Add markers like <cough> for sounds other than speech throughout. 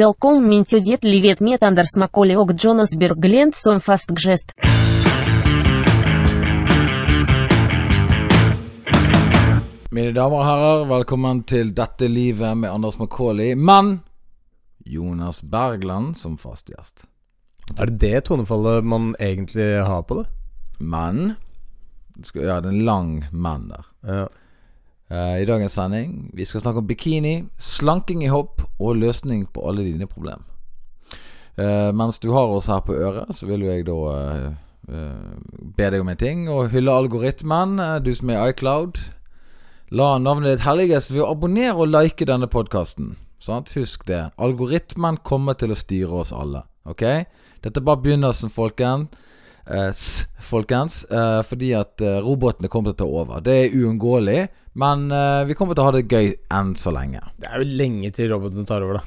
Velkommen min til ditt livet med Anders Macaulay og Jonas Berglund som fast gjest. Mine damer og herrer, velkommen til Dette livet med Anders Macauley. Men Jonas Bergland som fast gjest. Er det det tonefallet man egentlig har på det? Men du skal- Ja, det er en lang men der. Ja. Eh, I dagens sending vi skal snakke om bikini, slanking i hopp og løsning på alle dine problemer. Eh, mens du har oss her på øret, så vil jo jeg da eh, eh, be deg om en ting. Og hylle algoritmen, eh, du som er i iCloud. La navnet ditt helliges ved å abonnere og like denne podkasten. Husk det. Algoritmen kommer til å styre oss alle. Ok? Dette er bare begynnelsen, folkens. Eh, s, folkens. Eh, fordi at eh, robotene kommer til å ta over. Det er uunngåelig. Men eh, vi kommer til å ha det gøy enn så lenge. Det er jo lenge til robotene tar over, da.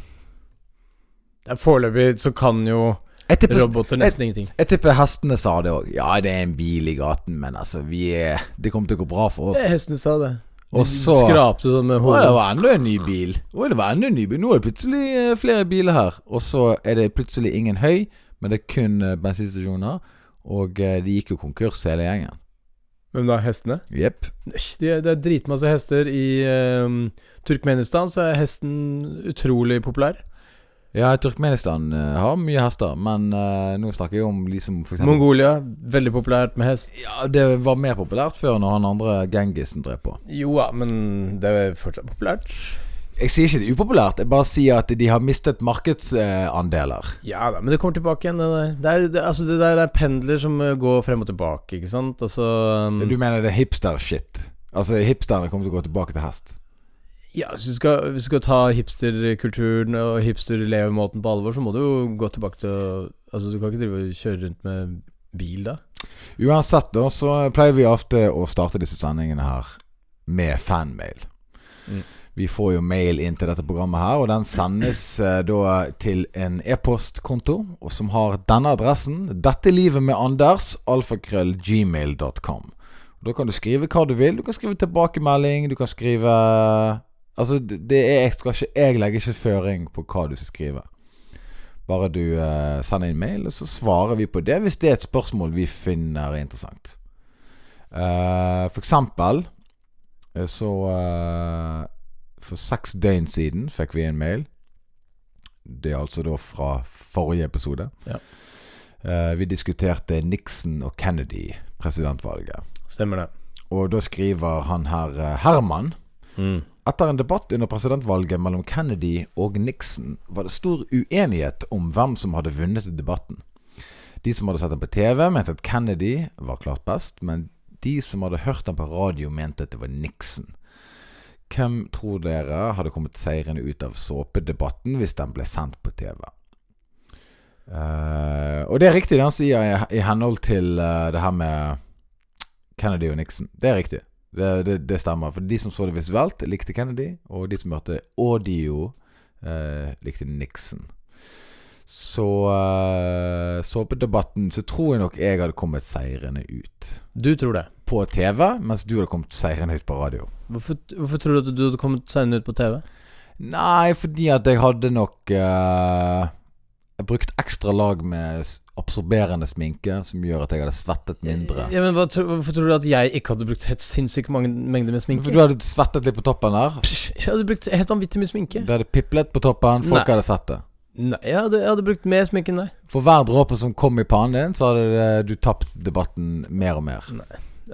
Det er Foreløpig så kan jo Jeg tipper, roboter nesten ingenting. jeg tipper hestene sa det òg. Ja, det er en bil i gaten, men altså, vi er Det kommer til å gå bra for oss. Hestene Eh, sa det. De Og så skrapte sånn med Å, hodet. det var enda en ny bil. Å, det var enda en ny bil. Nå er det plutselig eh, flere biler her. Og så er det plutselig ingen høy, men det er kun eh, bensinstasjoner. Og eh, de gikk jo konkurs, hele gjengen. Hvem da? Hestene? Jepp. Æsj, Det, det er dritmasse hester. I ehm, Turkmenistan så er hesten utrolig populær. Ja, Turkmenistan eh, har mye hester, men eh, nå snakker jeg om liksom for eksempel Mongolia, veldig populært med hest. ja, Det var mer populært før, når han andre Gengisen drev på. Jo da, men det er fortsatt populært. Jeg sier ikke det er upopulært, jeg bare sier at de har mistet markedsandeler. Ja da, men det kommer tilbake igjen, det der. Det er, det, altså, det der er pendler som eh, går frem og tilbake, ikke sant? Altså ehm, Du mener det er hipster-shit? Altså, hipsterne kommer til å gå tilbake til hest? Ja, hvis du skal, hvis du skal ta hipsterkulturen og hipsterlevemåten på alvor, så må du jo gå tilbake til å- Altså, du kan ikke drive og kjøre rundt med bil da. Uansett da, så pleier vi ofte å starte disse sendingene her med fanmail. Mm. Vi får jo mail inn til dette programmet her, og den sendes eh, da til en e-postkonto og som har denne adressen. Dette livet med Anders, alfakrøllgmail.com. Da kan du skrive hva du vil. Du kan skrive tilbakemelding, du kan skrive Altså, det er, jeg, skal ikke, jeg legger ikke føring på hva du skal skrive. Bare du eh, sender inn mail, og så svarer vi på det hvis det er et spørsmål vi finner interessant. Eh, for eksempel eh, så eh, For seks døgn siden fikk vi en mail. Det er altså da fra forrige episode. Ja. Eh, vi diskuterte Nixon og Kennedy, presidentvalget. Stemmer det. Og da skriver han her eh, Herman Mm. etter en debatt under presidentvalget mellom Kennedy og Nixon var det stor uenighet om hvem som hadde vunnet debatten. De som hadde sett den på TV, mente at Kennedy var klart best, men de som hadde hørt den på radio, mente at det var Nixon. Hvem tror dere hadde kommet seirende ut av såpedebatten hvis den ble sendt på TV? Eh, og det er riktig det han sier i, i henhold til eh, det her med Kennedy og Nixon. Det er riktig. Det, det, det stemmer. For de som så det visuelt, likte Kennedy. Og de som hørte audio, eh, likte Nixon. Så eh, så på debatten så tror jeg nok jeg hadde kommet seirende ut. Du tror det. På TV, mens du hadde kommet seirende ut på radio. Hvorfor, hvorfor tror du at du hadde kommet senere ut på TV? Nei, fordi at jeg hadde nok eh, Jeg brukt ekstra lag med s- absorberende sminke, som gjør at jeg hadde svettet mindre. Ja, men hva, tro- Hvorfor tror du at jeg ikke hadde brukt helt sinnssykt mange mengder med sminke? For du hadde svettet litt på toppen der. Psh, Jeg hadde brukt helt vanvittig mye sminke. Det hadde piplet på toppen. Folk Nei. hadde sett det. Nei, jeg hadde, jeg hadde brukt mer sminke enn deg. For hver dråpe som kom i pannen din, så hadde det, du tapt debatten mer og mer.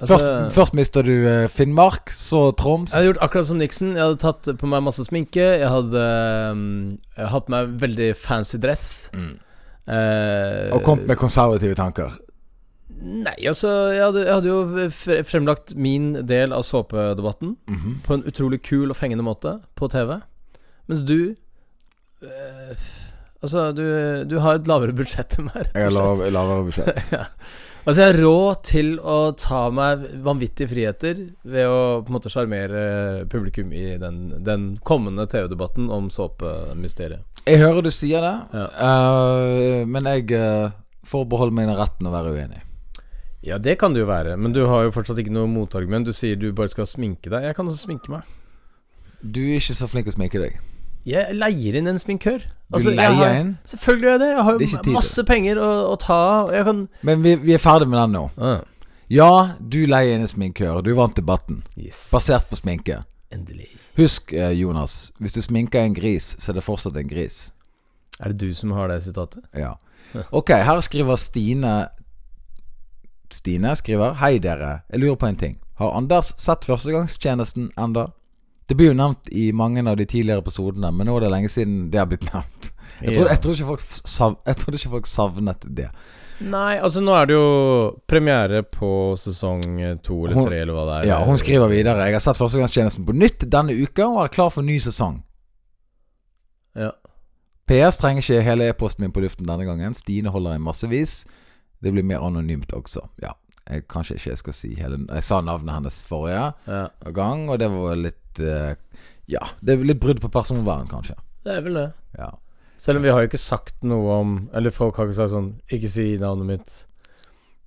først, først mister du eh, Finnmark, så Troms. Altså- Jeg hadde gjort akkurat som Nixon. Jeg hadde tatt på meg masse sminke. Jeg hadde ehm, jeg hadde hatt på meg veldig fancy dress. Mm. Eh, Og kommet med konservative tanker. Nei, altså jeg hadde, jeg hadde jo fre- fremlagt min del av såpedebatten Mhm. på en utrolig kul og fengende måte på TV. Mens du eh, Altså, du, du har et lavere budsjett enn meg, rett Jeg har og slett. lav, lavere budsjett. Altså, jeg har råd til å ta meg vanvittige friheter ved å på en måte sjarmere publikum i den, den kommende TV-debatten om såpemysteriet. Jeg hører du sier det, eh, men jeg eh, forbeholder meg den retten å være uenig. Ja, det kan det jo være, men du har jo fortsatt ikke noe motargument. Du sier du bare skal sminke deg. Jeg kan også sminke meg. Du er ikke så flink til å sminke deg. Jeg leier inn en sminkør. Du leier jeg har, inn? Selvfølgelig gjør jeg det. Jeg har Det er jo ikke tid. masse penger å, å ta av. og Jeg kan Men vi, vi er ferdig med den nå. Ja, du leier inn en sminkør. Du vant debatten. Yes. Basert på sminke. Endelig. Husk, eh, Jonas, hvis du sminker en gris, så er det fortsatt en gris. Er det du som har det sitatet? Ja. Ok, her skriver Stine Stine skriver Hei, dere. Jeg lurer på en ting. Har Anders sett Førstegangstjenesten enda? Det blir jo nevnt i mange av de tidligere episodene, men nå er det lenge siden det har blitt nevnt. Jeg trodde, jeg trodde, ikke, folk f- sav, jeg trodde ikke folk savnet det. Nei, altså nå er det jo premiere på sesong to eller Hun- tre, eller hva det er. Ja, Hun skriver videre. Jeg har sett Førstegangstjenesten på nytt denne uka og er klar for ny sesong. Ja. PS trenger ikke hele e-posten min på luften denne gangen. Stine holder i massevis. Det blir mer anonymt også. Ja, jeg, kanskje ikke jeg skal si hele Jeg sa navnet hennes forrige ja. gang, og det var litt eh, Ja, det er litt brudd på personvern, kanskje. Det er vel det. Ja. Selv om vi har jo ikke sagt noe om Eller folk har ikke sagt sånn Ikke si navnet mitt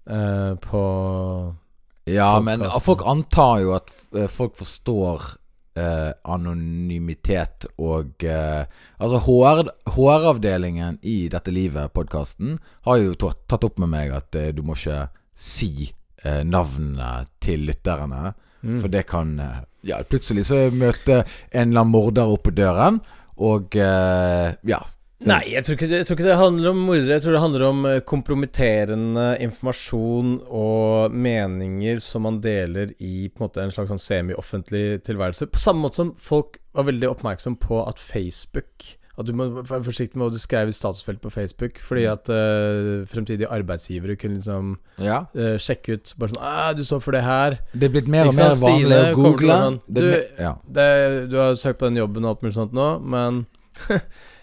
eh, på Ja, men Podcasten. folk antar jo at eh, folk forstår eh, anonymitet og eh, Altså, HR, HR-avdelingen i Dette livet-podkasten har jo tatt, tatt opp med meg at eh, du må ikke si eh, navnene til lytterne, Mm. for det kan eh, Ja, plutselig så møter en eller annen morder opp på døren, og eh, Ja. Nei, jeg tror, ikke, det- jeg tror ikke det handler om mordere. Jeg tror det handler om eh, kompromitterende informasjon og meninger som man deler i på en måte en slags sånn semi-offentlig tilværelse. På samme måte som folk var veldig oppmerksom på at Facebook At du må være forsiktig med hva du skrev i statusfelt på Facebook, fordi at eh, fremtidige arbeidsgivere kunne liksom ja. eh, sjekke ut bare sånn «Ah, 'Du står for det her.' Det er blitt mer og Ikke mer sant, Stine vanlig å kommer til google. å være sånn, Det, er «Du, me- ja. det, du har søkt på den jobben og alt mulig sånt nå, men <laughs>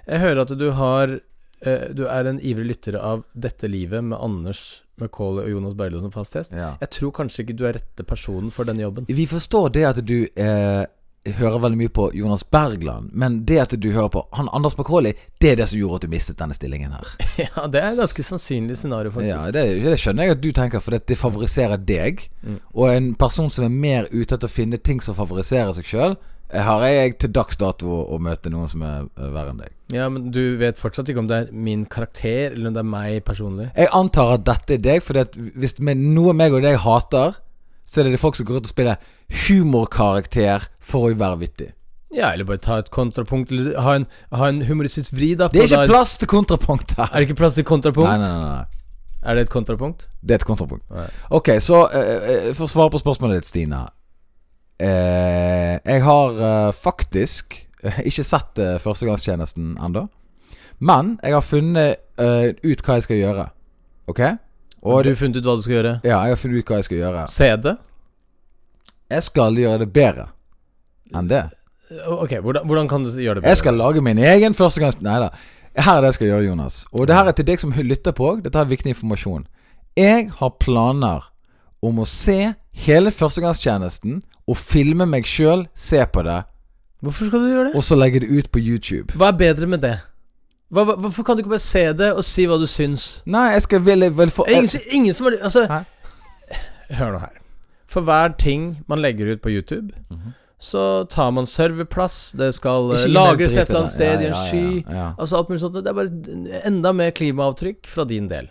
jeg hører at du har eh, Du er en ivrig lytter av Dette livet med Anders McCauley og Jonas Bergljot som fast gjest. Ja. Jeg tror kanskje ikke du er rette personen for denne jobben. Vi forstår det at du eh, hører veldig mye på Jonas Bergland, men det at du hører på han Anders Macauley, det er det som gjorde at du mistet denne stillingen her. <laughs> ja, det er et ganske sannsynlig scenario, faktisk. Ja, det, det skjønner jeg at du tenker, for det, det favoriserer deg. Og en person som er mer ute etter å finne ting som favoriserer seg sjøl, har jeg til dags dato å, å møte noen som er eh, verre enn deg. Ja, men du vet fortsatt ikke om det er min karakter, eller om det er meg personlig. Jeg antar at dette er deg, for hvis med noe meg og deg hater, så er det folk som går ut og spiller humorkarakter for å være vittig. Ja, eller bare ta et kontrapunkt, eller ha en, ha en humoristisk vri, da. Det er på ikke der- plass til kontrapunkt her. Er det ikke plass til kontrapunkt? Nei, nei, nei, nei. Er det et kontrapunkt? Det er et kontrapunkt. Nei. Ok, så eh, eh, for å svare på spørsmålet ditt, Stina. Eh, jeg har eh, faktisk eh, ikke sett eh, Førstegangstjenesten ennå. Men jeg har funnet eh, ut hva jeg skal gjøre. Ok? Har Og du funnet ut hva du skal gjøre? ja, jeg har funnet ut hva jeg skal gjøre. Se det? Jeg skal gjøre det bedre enn det. Ok, hvordan, hvordan kan du gjøre det bedre? Jeg skal lage min egen førstegangs... Nei da. Her er det jeg skal gjøre, Jonas. Og det her er til deg som lytter på òg. Dette er viktig informasjon. Jeg har planer om å se hele førstegangstjenesten og filme meg sjøl, se på det, Hvorfor skal du gjøre det? og så legge det ut på YouTube. Hva er bedre med det? Hva, hva, hvorfor kan du ikke bare se det og si hva du syns? Nei, jeg skal vel, vel få Det er Ingen, som- ingen som har Altså, Hæ? hør nå her. For hver ting man legger ut på YouTube, så tar man serverplass, det skal Mhm. eh, Ikke gi meg lagres dritt et eller annet i det. sted i Ja, en ja, sky. ja, ja. Altså alt mulig sånt. Det er bare enda mer klimaavtrykk fra din del.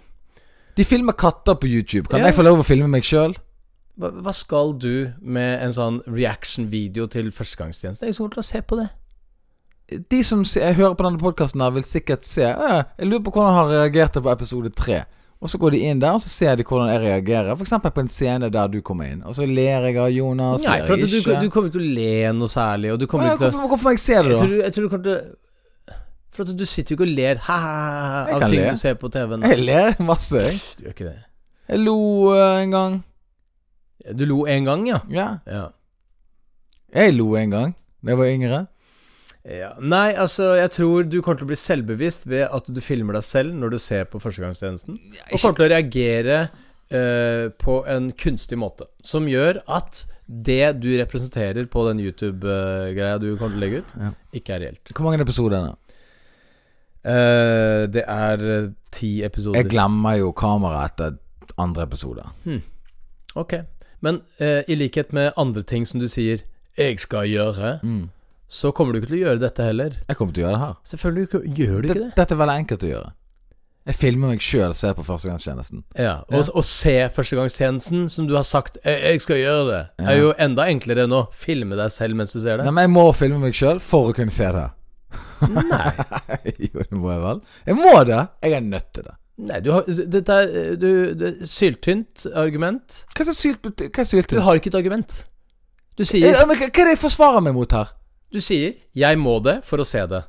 De filmer katter på YouTube. Kan Ja. jeg få lov å filme meg sjøl? Hva, hva skal du med en sånn reaction-video til førstegangstjenesten? Det er Ingen som kommer til å se på det. De som se- jeg hører på denne podkasten, vil sikkert se «Eh, Jeg lurer på hvordan han reagerte på episode tre. Og så går de inn der og så ser de hvordan jeg reagerer. F.eks. på en scene der du kommer inn. Og så ler jeg av Jonas. Nei, ler for at Altså, jeg du, ikke. du kommer ikke til å le noe særlig, og du kommer Nei, ikke til å hvorfor, hvorfor må jeg se det, Jeg tror, da? du- jeg tror du kommer til å- For at du sitter jo ikke og ler ha, ha, ha, ha, Jeg av kan ting le. du ser på TV-en. Jeg ler masse, jeg. Du gjør ikke det. Jeg lo eh, en gang. Du lo én gang, ja. Ja. ja. Jeg lo en gang da jeg var yngre. Ja. Nei, altså, jeg tror du kommer til å bli selvbevisst ved at du filmer deg selv når du ser på Førstegangstjenesten, og kommer til å reagere eh, på en kunstig måte, som gjør at det du representerer på den YouTube-greia du kommer til å legge ut, Ja. ikke er reelt. Hvor mange episoder er det? Eh, det er eh, ti episoder. Jeg glemmer jo kameraet etter andre episode. Ok, men eh, i likhet med andre ting som du sier 'jeg skal gjøre', så kommer du ikke til å gjøre dette heller. Jeg kommer til å gjøre det her. Selvfølgelig ikke- gjør du ikke det. Dette- Dette er veldig enkelt å gjøre. Jeg filmer meg sjøl se på førstegangstjenesten. Ja, og, og se førstegangstjenesten, som du har sagt jeg, 'jeg skal gjøre det', er jo enda enklere enn å filme deg selv mens du ser det. Nei, men jeg må filme meg sjøl for å kunne se det. Nei. <laughs> jo, det må jeg vel. Jeg må det! Jeg er nødt til det. Nei, du har Dette er du, det, er Syltynt argument. Hva er så sylt bety- hva er sylt? Du har ikke et argument. Du sier, Ja, men Hva hva er det jeg forsvarer meg mot her? du sier 'jeg må det for å se det'.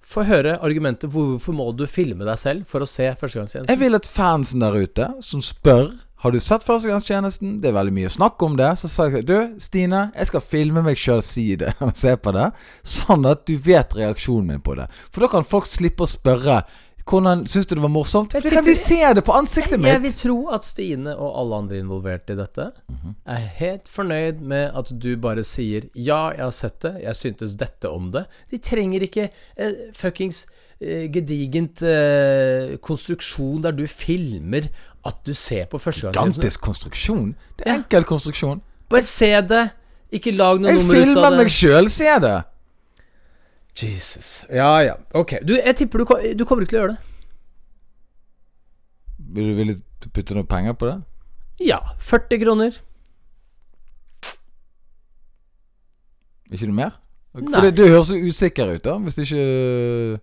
Få høre argumentet 'hvorfor må du filme deg selv for å se førstegangstjenesten'? Jeg vil at fansen der ute som spør Har du sett Førstegangstjenesten, det er veldig mye snakk om det, så sa jeg du, Stine, jeg skal filme meg sjøl si det, <laughs> og se på det, sånn at du vet reaksjonen min på det. For da kan folk slippe å spørre hvordan syns du det var morsomt? For da kan de se det på ansiktet Jeg vil mitt! tro at Stine og alle andre involvert i dette Mhm. er helt fornøyd med at du bare sier 'ja, jeg har sett det, jeg syntes dette om det'. De trenger ikke eh, fuckings eh, gedigent eh, konstruksjon der du filmer at du ser på førstegangstjenesten. Gigantisk konstruksjon. Det er enkel konstruksjon. Bare se det! Ikke lag noe Jeg nummer ut av filmer det. meg sjøl se det! Jesus. Ja, ja. Ok. Du, jeg tipper du, ko- du kommer ikke til å gjøre det. Vil du, vil du putte noe penger på det? Ja. 40 kroner. Ikke noe mer? Nei. For det, det høres jo usikker ut, da. Hvis det ikke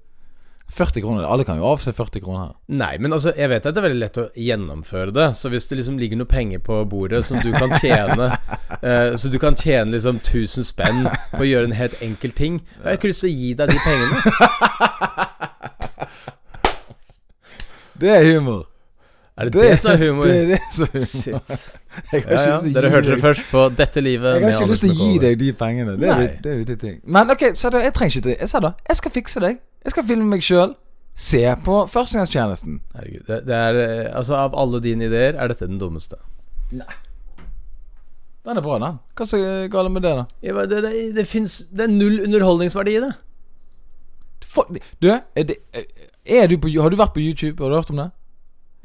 40 kroner. Alle kan jo avse 40 kroner her. Nei, men altså, jeg vet at det er veldig lett å gjennomføre det. Så hvis det liksom ligger noe penger på bordet som du kan tjene <laughs> eh, Så du kan tjene liksom 1000 spenn på å gjøre en helt enkel ting Jeg har ikke lyst til å gi deg de pengene. Det er humor. Er det det, som er humor? Det er det som er humor. Shit. <laughs> Jeg har Ja, ja. ikke lyst til å Dere gi hørte det deg- først på Dette livet Jeg har ikke Anders lyst til å gi Bekove. deg de pengene. Det er Nei. litt- det er litt ting. Men ok, sa du, jeg trenger ikke det. Jeg sa da, jeg skal fikse deg. Jeg skal filme meg sjøl. Se på Førstegangstjenesten. Herregud. Det, det er eh, Altså, av alle dine ideer er dette den dummeste. Den er bra, den. Hva er så galt med det, da? Ja, men Det, det, det, finnes, det er null underholdningsverdi i det. For, du, er det, er du på, har du vært på YouTube? Har du hørt om det?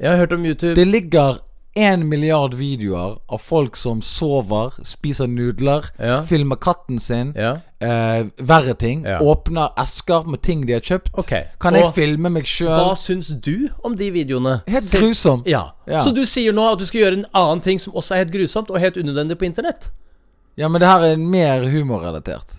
Jeg har hørt om YouTube. Det ligger en milliard videoer av folk som sover, spiser nudler, Ja. filmer katten sin, Ja. eh, verre ting. Ja. Åpner esker med ting de har kjøpt. Ok, Kan og jeg filme meg sjøl? Hva syns du om de videoene? Helt Selv- grusom. Ja. Ja. Så du sier nå at du skal gjøre en annen ting som også er helt grusomt og helt unødvendig på internett? Ja, men det her er mer humorrelatert.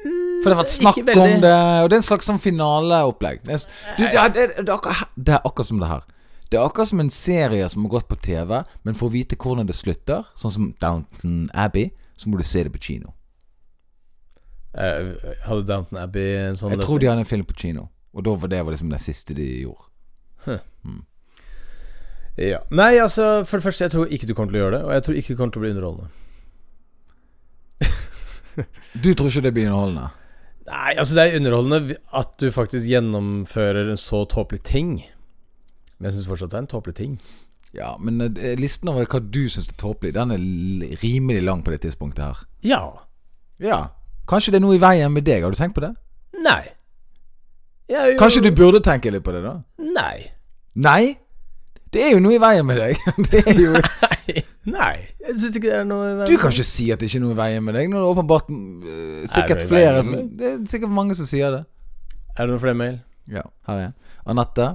For det har vært snakk Mm, ikke veldig. om det, og det er en slags sånn finaleopplegg. Det er s- Du, det, er- det, er- det, er akkurat, det er akkurat som det her. Det er akkurat som en serie som har gått på TV, men for å vite hvordan det slutter, sånn som Downton Abbey, så må du se det på kino. Eh, hadde Downton Abbey en sånn Jeg tror de hadde en film på kino, og da var det var liksom det siste de gjorde. ja. Nei, altså, for det første, jeg tror ikke du kommer til å gjøre det. Og jeg tror ikke det kommer til å bli underholdende. Du tror ikke det blir underholdende? Nei, altså, det er underholdende at du faktisk gjennomfører en så tåpelig ting. Men jeg syns fortsatt det er en tåpelig ting. Ja, men eh, listen over hva du syns er tåpelig, den er l- rimelig lang på det tidspunktet her. Ja. Ja. Kanskje det er noe i veien med deg, har du tenkt på det? Nei. Jeg er jo Kanskje du burde tenke litt på det, da? Nei. <laughs> Nei! Det er jo noe i veien med deg. <laughs> Det er jo Nei. Jeg syns ikke det er noe Du kan ikke si at det ikke er noe i veien med deg, når det er åpenbart eh, sikkert Er det noe i flere veien som med Det er sikkert mange som sier det. Er det noen flere mail? Ja, her er jeg. Anette.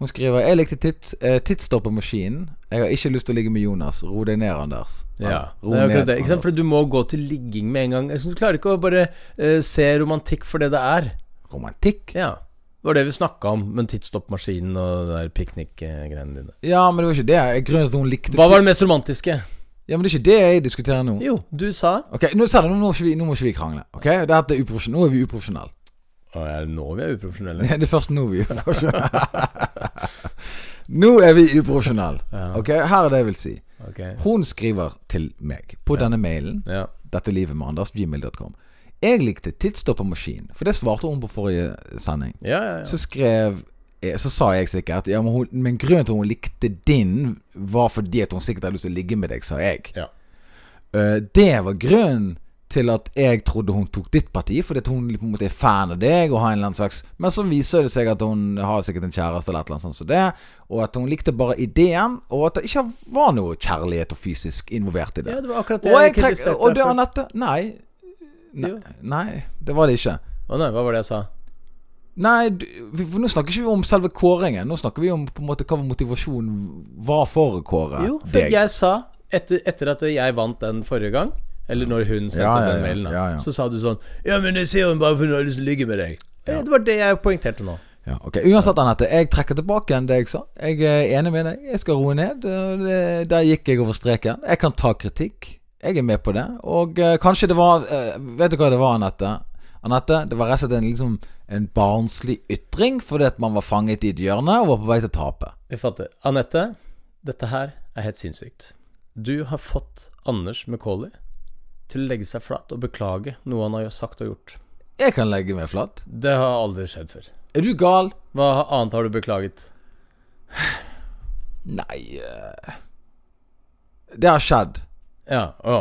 Hun skriver Jeg likte tids, eh, tidsstopp på maskinen. Jeg har ikke lyst til å ligge med Jonas. Ro deg ned, Anders. Ja, ro det er akkurat det. ned, Ikke sant? For Anders. du må gå til ligging med en gang. Altså, Du klarer ikke å bare eh, se romantikk for det det er. Romantikk? Ja. Det var det vi snakka om, men tidsstoppmaskinen og det der piknik-greiene dine. Ja, men det var ikke det grunnen til at hun likte Hva var det mest romantiske? Ja, men det er ikke det jeg diskuterer nå. Jo, du sa Ok, Nå sa du, nå må ikke vi, nå må ikke vi krangle. Ok, Dette er uprofesjon- Nå er vi uprofesjonelle. Å, er det nå vi er uprofesjonelle? Det er først nå vi er uprofesjonelle. nå er vi uprofesjonelle. Ok, Her er det jeg vil si. <laughs> Ok. Hun skriver til meg på denne mailen Ja. Dette livet med Anders, gmail.com. Jeg likte tidsstoppermaskin, for det svarte hun på forrige sending. Ja, ja, ja. Så skrev eh, Så sa jeg sikkert ja, men, hun, men grunnen til at hun likte din, var fordi at hun sikkert hadde lyst til å ligge med deg, sa jeg. Ja. Eh, det var grunnen til at jeg trodde hun tok ditt parti, fordi at hun på en måte er fan av deg og har en eller annen slags Men så viser det seg at hun har sikkert en kjæreste eller et eller annet sånt som det, og at hun likte bare ideen, og at det ikke var noe kjærlighet og fysisk involvert i det. ja, det var akkurat det Og, jeg jeg trek, kritiserte. og det deg for. Anette Nei. Jo. Nei, det var det ikke. Å nei, hva var det jeg sa? Nei, du- vi- for nå snakker ikke vi om selve kåringen. Nå snakker vi om på en måte hva motivasjonen var for å kåre Jo, for jeg sa etter, etter at jeg vant den forrige gang, eller når hun sendte Ja, ja, den ja, mailen, da, ja, ja. så sa du sånn Ja, men jeg ser hun bare for hun har lyst til å ligge med deg. Eh, Det var det jeg poengterte nå. Ja, ok, Uansett, Anette, jeg trekker tilbake igjen det jeg sa. Jeg er enig med deg. Jeg skal roe ned. Det- Der gikk jeg over streken. Jeg kan ta kritikk. Jeg er med på det. Og eh, kanskje det var eh, Vet du hva det var, Anette? Anette, Det var rett og slett en, liksom, en barnslig ytring fordi at man var fanget i et hjørne og var på vei til å tape. Vi fatter. Anette, dette her er helt sinnssykt. Du har fått Anders Macauley til å legge seg flat og beklage noe han har sagt og gjort. Jeg kan legge meg flat. Det har aldri skjedd før. Er du gal? Hva annet har du beklaget? Nei eh, Det har skjedd. Ja, å.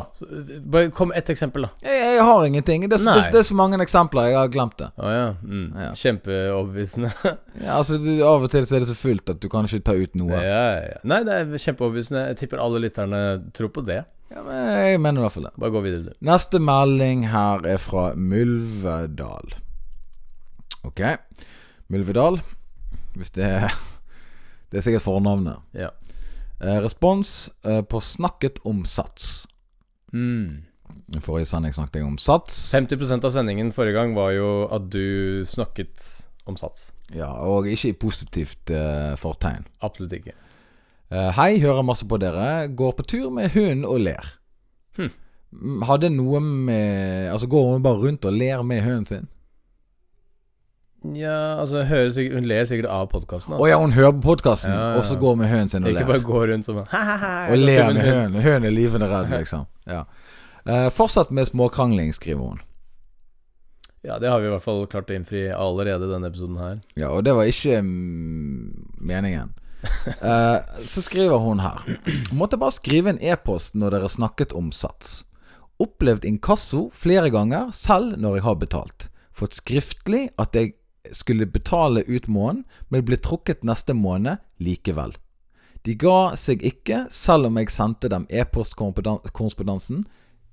Bare kom ett eksempel, da. Jeg, jeg har ingenting. Det er, så, Nei. det, det er så mange eksempler. Jeg har glemt det. Å ja. Mm. Ja. Kjempeoverbevisende. <laughs> Ja, altså, du, Av og til så er det så fullt at du kan ikke ta ut noe. Ja, ja. ja. Nei, det er kjempeoverbevisende. Jeg tipper alle lytterne tror på det. Ja, men jeg mener i hvert fall det. Bare gå videre, du. Neste melding her er fra Mylvedal. Ok. Mylvedal. Hvis det er Det er sikkert fornavnet. Ja. Eh, respons eh, på 'snakket om sats'. I forrige sending snakket jeg om sats. 50 Mm. av sendingen forrige gang var jo at du snakket om Sats. Ja, Og ikke i positivt eh, fortegn. Absolutt ikke. Eh, hei, hører masse på dere. Går på tur med hund og ler. Hm. Mm, Hadde noe med Altså, går hun bare rundt og ler med hunden sin? Ja, altså hører sikkert, Hun ler sikkert av podkasten. Å ja, hun hører på podkasten, Ja, ja, ja. og så går hun med hunden sin og Ikke ler. bare gå rundt sånn ha-ha-ha. Og ler Altså, med hønen. Hønen er livende redd, liksom. Ja. Eh, fortsatt med småkrangling, skriver hun. Ja, det har vi i hvert fall klart å innfri allerede denne episoden her. Ja, og det var ikke mm, meningen. Eh, så skriver hun her Måtte bare skrive en e-post når dere snakket om sats. Opplevd inkasso flere ganger, selv når jeg har betalt. Fått skriftlig at jeg skulle betale ut måneden, men ble trukket neste måned likevel. De ga seg ikke, selv om jeg sendte dem e-postkorrespondansen.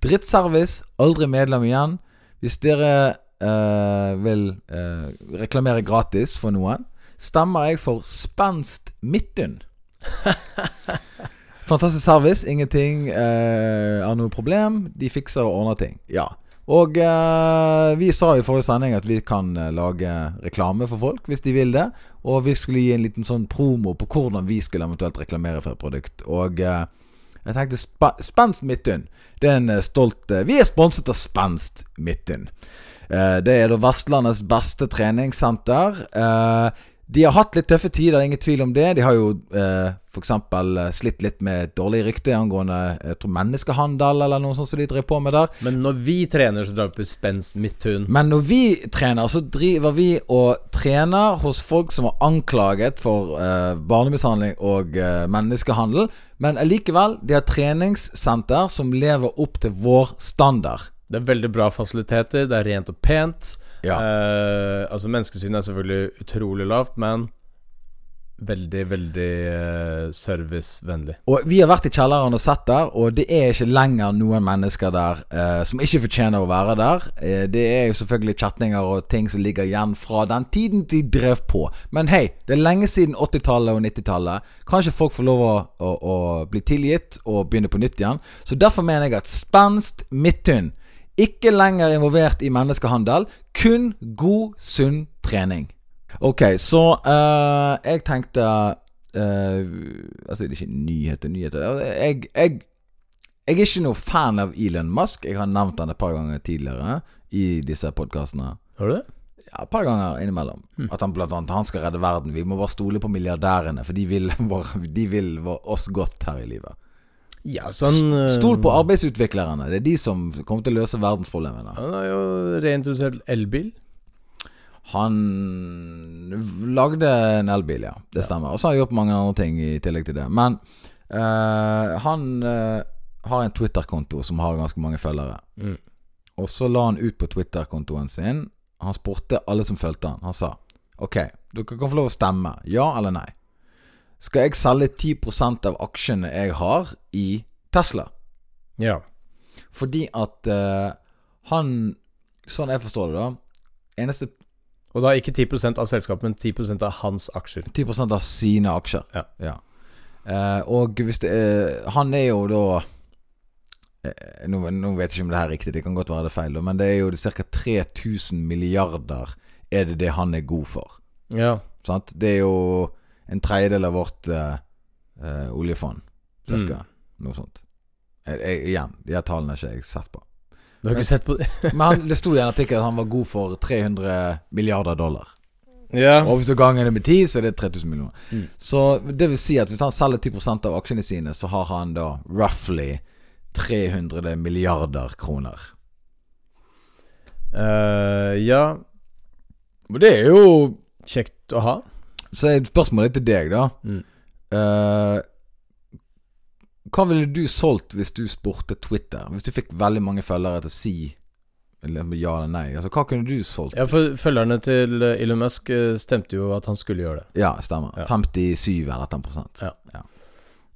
Drittservice, aldri medlem igjen. Hvis dere eh, vil eh, reklamere gratis for noen, stemmer jeg for Spenst Midtun. Fantastisk service, ingenting eh, er noe problem. De fikser og ordner ting. Ja. Og eh, vi sa i forrige sending at vi kan eh, lage reklame for folk hvis de vil det. Og vi skulle gi en liten sånn promo på hvordan vi skulle eventuelt reklamere for et produkt. Og eh, jeg tenkte spa Spenst Midtun. Det er en eh, stolt eh, Vi er sponset av Spenst Midtun. Eh, det er da Vestlandets beste treningssenter. Eh, de har hatt litt tøffe tider, ingen tvil om det. De har jo eh, f.eks. eh, slitt litt med et dårlig rykte angående eh, jeg tror menneskehandel eller noe sånt som de driver på med der. Men når vi trener, så drar vi på spenst midthun. Men når vi trener, så driver vi og trener hos folk som var anklaget for eh, barnemishandling og eh, menneskehandel. Men allikevel, de har treningssenter som lever opp til vår standard. Det er veldig bra fasiliteter, det er rent og pent. Ja. Eh, altså Menneskesynet er selvfølgelig utrolig lavt, men veldig, veldig eh, servicevennlig. Og vi har vært i kjelleren og sett der, og det er ikke lenger noen mennesker der eh, som ikke fortjener å være der. Eh, det er jo selvfølgelig kjetninger og ting som ligger igjen fra den tiden de drev på. Men hei, det er lenge siden 80-tallet og 90-tallet. Kanskje folk får lov å, å, å bli tilgitt og begynne på nytt igjen. Så derfor mener jeg at spenst midtun ikke lenger involvert i menneskehandel. Kun god, sunn trening. Ok, så eh, jeg tenkte eh, Altså, det er ikke nyheter, nyheter Jeg, jeg, jeg er ikke noe fan av Elon Musk. Jeg har nevnt han et par ganger tidligere i disse podkastene. Har du det? Ja, et par ganger innimellom. At han blant annet han skal redde verden. Vi må bare stole på milliardærene, for de vil, <laughs> vår, de vil vår, oss godt her i livet. Ja, så han eh, Stol på arbeidsutviklerne. Det er de som kommer til å løse verdensproblemene. eh, Han har jo reintrodusert elbil. Han lagde en elbil, ja. Det stemmer. Og så har han gjort mange andre ting i tillegg til det. Men eh, han eh, har en Twitter-konto som har ganske mange følgere. Mm. Og så la han ut på Twitter-kontoen sin. Han spurte alle som fulgte han. Han sa OK, dere kan få lov å stemme. Ja eller nei. Skal jeg selge 10 av aksjene jeg har i Tesla? Ja. Fordi at eh, han Sånn jeg forstår det, da. Eneste Og da ikke 10 av selskapet, men 10 av hans aksjer. 10 av sine aksjer. Ja. Eh, og hvis det er Han er jo da eh, nå, nå vet jeg ikke om det her er riktig, det kan godt være det er feil, da, men det er jo ca. 3000 milliarder er det det han er god for. Ja. Sant? Det er jo en tredjedel av vårt eh, eh, oljefond, cirka. Noe sånt. Jeg, jeg, igjen, de her tallene har ikke jeg sett på. Du har ikke sett på det? Men han, det sto i en artikkel at han var god for 300 milliarder dollar. <laughs> Ja. Og hvis du ganger det med 10, så er det 3000 millioner. Mm. Så det vil si at hvis han selger 10 av aksjene sine, så har han da roughly 300 milliarder kroner. Eh, ja. Men det er jo Kjekt å ha. Så er spørsmålet til deg, da. Mm. Eh, hva ville du solgt hvis du spurte Twitter? Hvis du fikk veldig mange følgere til å si eller ja eller nei? Altså, hva kunne du solgt? Ja, for Følgerne til eh, Elon Musk eh, stemte jo at han skulle gjøre det. Ja, stemmer. Ja. 57 eller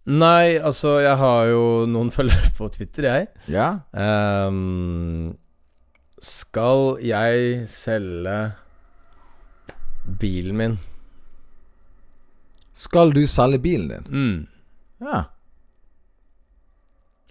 10 Nei, altså, jeg har jo noen <laughs> følgere på Twitter, jeg. Ja? Ehm, skal jeg selge bilen min? Skal du selge bilen din? Mm. Ja.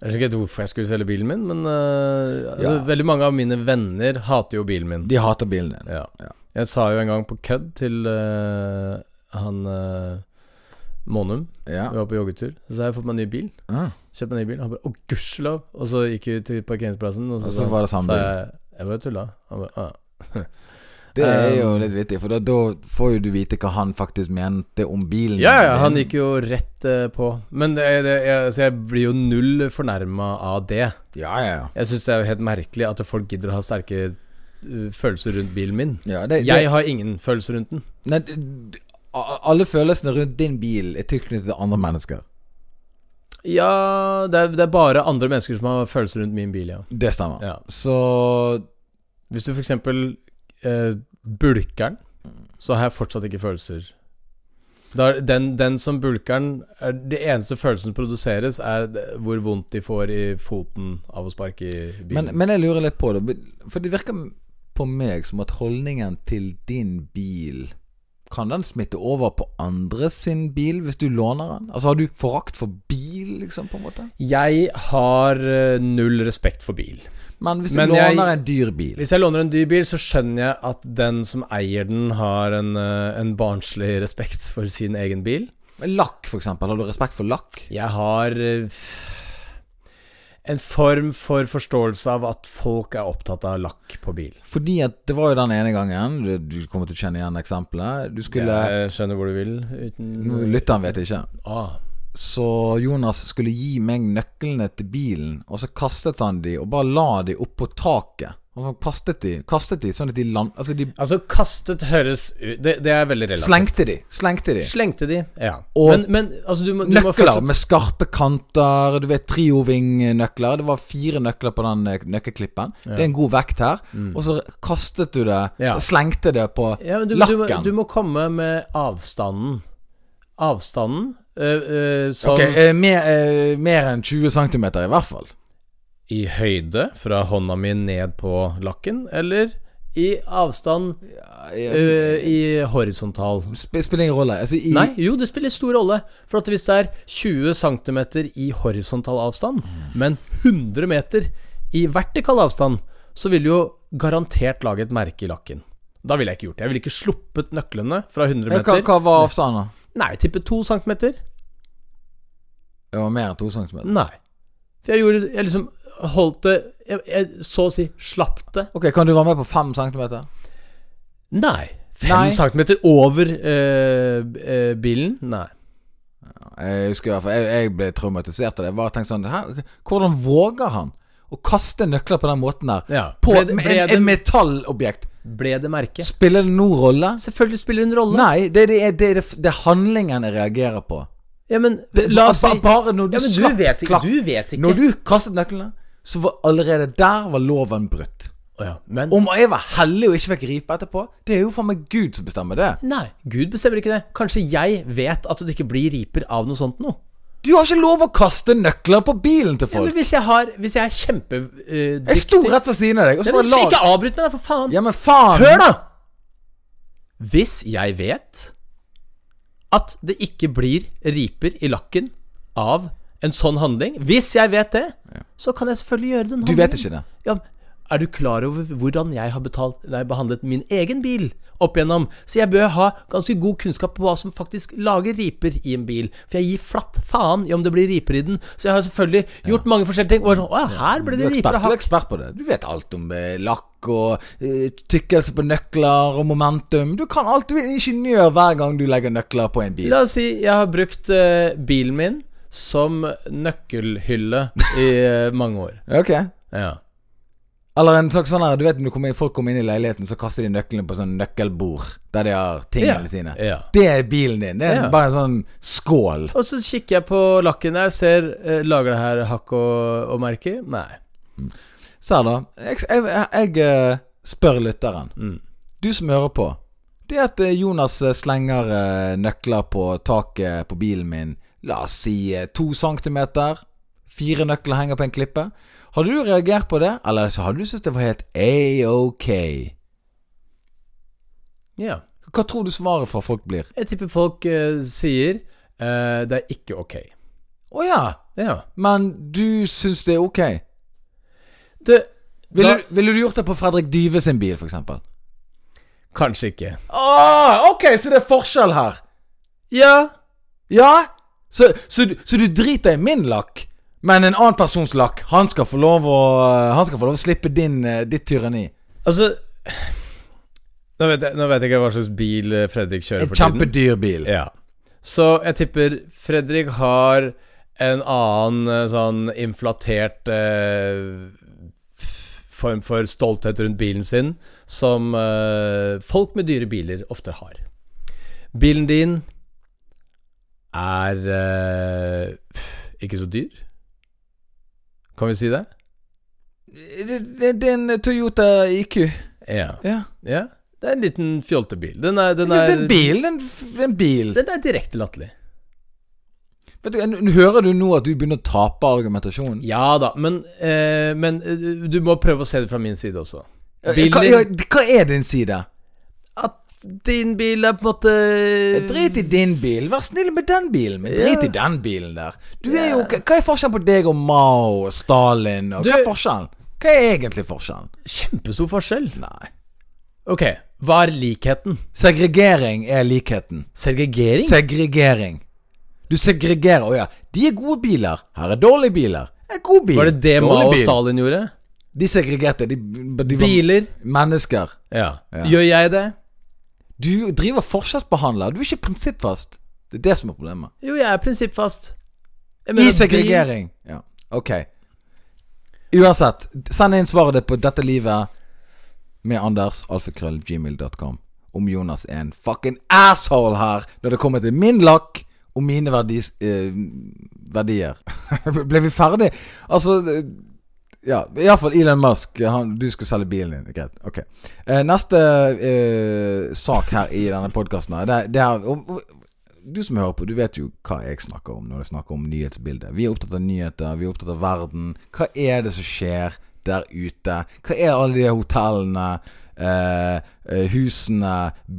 Jeg skjønner ikke helt hvorfor jeg skulle selge bilen min, men eh, altså, Ja. veldig mange av mine venner hater jo bilen min. De hater bilen din. Ja. Ja. Jeg sa jo en gang på kødd til eh, han eh, Monum, Ja. vi var på joggetur, så sa jeg fått meg en ny bil. Ah, Kjøpt meg en ny bil. Han bare 'Å, gudskjelov!' Og så gikk vi til parkeringsplassen, og så, Og sa så han- var det samme sa bil. jeg 'Jeg bare tulla'. Han bare "Ah." 'Å, Det er jo Um, litt vittig, for da, da får jo du vite hva han faktisk mente om bilen. Ja, ja, din. han gikk jo rett eh, på. Men det, det, jeg, så jeg blir jo null fornærma av det. Ja, ja, ja. Jeg syns det er jo helt merkelig at folk gidder å ha sterke eh, følelser rundt bilen min. ja det, det, Jeg har ingen følelser rundt den. Nei, d- d- a- alle følelsene rundt din bil er tilknyttet til andre mennesker. Ja, det er, det er bare andre mennesker som har følelser rundt min bil, ja. Det stemmer. ja. Så Hvis du f.eks. Eh, bulker den, så har jeg fortsatt ikke følelser. Da, er den, den som bulker den er- Det eneste følelsen som produseres, er det- hvor vondt de får i foten av å sparke i men, bilen. men jeg lurer litt på det. For det virker på meg som at holdningen til din bil Kan den smitte over på andre sin bil hvis du låner den? Altså Har du forakt for bil, liksom? på en måte Jeg har eh, null respekt for bil. Men hvis du Men jeg- låner en dyr bil Hvis jeg låner en dyr bil, så skjønner jeg at den som eier den, har en, eh, en barnslig <laughs> respekt for sin egen bil. Lakk, for eksempel. Har du respekt for lakk? Jeg har eh, en form for forståelse av at folk er opptatt av lakk på bil. Fordi at det var jo den ene gangen Du, du kommer til å kjenne igjen eksempelet. Du skulle Jeg skjønner hvor du vil uten Nå, Lytteren vet ikke. Ah. Så Jonas skulle gi meg nøklene til bilen, og så kastet han de og bare la de oppå taket. Og så kastet de, kastet de sånn at de land... Altså, de Altså, kastet høres ut Det, det er veldig relativt. slengte de. Slengte de. Slengte de, ja. Og men, men altså, du må, du må Nøkler fortsatt- med skarpe kanter, du vet triovingnøkler. Det var fire nøkler på den eh, nøkkelklippen. Det er en god vekt her. Og så kastet du det, Mm. Ja. så slengte det på Ja, men du, du, må, lakken. du må komme med avstanden. Avstanden øh, øh, som Ok, eh, mer, eh, mer enn 20 cm i hvert fall. I høyde fra hånda mi ned på lakken, eller i avstand øh, i horisontal. Sp spiller ingen rolle. Altså, i, Nei, jo, det spiller stor rolle. For at hvis det er 20 cm i horisontal avstand, men 100 meter i vertikal avstand, så vil du jo garantert lage et merke i lakken. Da ville jeg ikke gjort det. Jeg ville ikke sluppet nøklene fra 100 Ja, hva, meter. hva var avstanden? da? Nei, jeg tipper 2 cm. Det var mer enn 2 cm. Nei. For jeg gjorde Jeg liksom holdt det Jeg, jeg så å si slapp det. Ok, Kan du være med på 5 cm? Nei. Nei. Fem centimeter over eh, b- eh, bilen? Nei. Jeg husker i hvert fall, jeg, jeg ble traumatisert av det. Jeg bare tenkte sånn Hæ? Hvordan våger han å kaste nøkler på den måten der? Ja. På Ble det- med ble en, det- en metallobjekt. Ble det merke? Spiller det noen rolle? Selvfølgelig spiller det en rolle. Nei, det, det, er- det, er det, det er handlingen jeg reagerer på. Ja, men Det, la oss si ba- Bare når du ja, men du slapp vet, ikke, klakk. du vet ikke. Når du kastet nøklene, så var allerede der var loven brutt. Å ja, Men Om jeg var heldig og ikke fikk ripe etterpå, det er jo faen meg Gud som bestemmer det. Nei, Gud bestemmer ikke det. Kanskje jeg vet at det ikke blir riper av noe sånt noe. Du har ikke lov å kaste nøkler på bilen til Ja, men folk! hvis jeg har Hvis jeg er eh, kjempedyktig Jeg sto rett ved siden av deg, og så bare Ikke lag avbryt meg, da, for faen! Ja, men faen! Hør, da! Hvis jeg vet at det ikke blir riper i lakken av en sånn handling Hvis jeg vet det, så kan jeg selvfølgelig gjøre den Du handlingen. vet ikke det. Ja, men er du klar over hvordan jeg har betalt, nei, behandlet min egen bil opp igjennom? Så jeg bør ha ganske god kunnskap på hva som faktisk lager riper i en bil. For jeg gir flatt faen i om det blir riper i den. Så jeg har selvfølgelig gjort mange forskjellige ting. Og, å, ja, her ble Du er det riper ekspert, du av er hakk. ekspert på det. Du vet alt om eh, lakk og eh, tykkelse på nøkler og momentum. Du kan alt. Du er ingeniør hver gang du legger nøkler på en bil. La oss si jeg har brukt eh, bilen min som nøkkelhylle i eh, mange år. Ok Ja. Eller en slags sånn her, du vet når du kommer inn, folk kommer inn i leiligheten, så kaster de nøklene på sånn nøkkelbord. Der de har tingene Ja, sine. ja. Det er bilen din. Det er Ja. bare en sånn skål. Og så kikker jeg på lakken der, ser eh, Lager det her hakk og, og merker? Nei. Se her, da. Jeg, jeg, jeg, eh, spør lytteren. Du som hører på. Det at eh, Jonas eh, slenger eh, nøkler på taket på bilen min, la oss si eh, to centimeter. Fire nøkler henger på en klippe. Hadde du reagert på det, eller hadde du syntes det var helt a-ok? Ja. Hva tror du svaret fra folk blir? Jeg tipper folk eh, sier eh, det er ikke ok. Å ja, Ja. men du syns det er ok? Du, Ville, da, du- ville du gjort det på Fredrik Dyve sin bil, f.eks.? Kanskje ikke. Ah, ok, så det er forskjell her. Ja. Ja? Så, så, du- så du driter i min lakk, men en annen persons lakk, han skal få lov å, han skal få lov å slippe din, eh, ditt tyranni. Altså nå vet, jeg, nå vet jeg ikke hva slags bil eh, Fredrik kjører En for tiden. kjempedyr bil. Ja. Så jeg tipper Fredrik har en annen eh, sånn inflatert eh, f- form for stolthet rundt bilen sin, som eh, folk med dyre biler ofte har. Bilen din er eh, ikke så dyr. Kan vi si det? Det, det, det er en eh, Toyota IQ. Ja. Ja. ja. Det er en liten fjoltebil. Den er, den Det er, er en bil. det er En, f- en bil. Den er direkte latterlig. Vet du, n- hører du nå at du begynner å tape argumentasjonen? Ja da, men, eh, men eh, du må prøve å se det fra min side også. Bilen Eh, Hva, ja, din hva er din side? At din bil er på en måte Drit i din bil. Vær snill med den bilen. Men drit i den bilen der. Du er jo, hva er forskjellen på deg og Mao og Stalin? Og Du- hva er forskjellen? Hva er egentlig forskjellen? Kjempestor forskjell. Nei. Ok, hva er likheten? Segregering er likheten. Segregering? Segregering. Du segregerer. Å ja, de er gode biler. Her er dårlige biler. En god bil. Var det det Dårlig Mao og bil. Stalin gjorde? De segregerte. De, de var Biler? mennesker. Ja. Gjør jeg det? Du driver forskjellsbehandler. Du er ikke prinsippfast. Det er det som er problemet. Jo, jeg er prinsippfast. Jeg I mener, segregering. Ja. Ok. Uansett, send inn svaret ditt på dette livet med Anders, alfakrøllgmail.com. Om Jonas er en fucking asshole her når det kommer til min lakk og mine verdis, eh, verdier. <laughs> Ble vi ferdig? Altså eh, Ja, iallfall Elon Musk. Han, du skal selge bilen din. Greit. Ok. Eh, neste eh, sak her i denne podkasten her, det, det er og- og- du som hører på, du vet jo hva jeg snakker om når jeg snakker om nyhetsbildet. Vi er opptatt av nyheter, vi er opptatt av verden. Hva er det som skjer der ute? Hva er alle de hotellene, eh, eh, husene,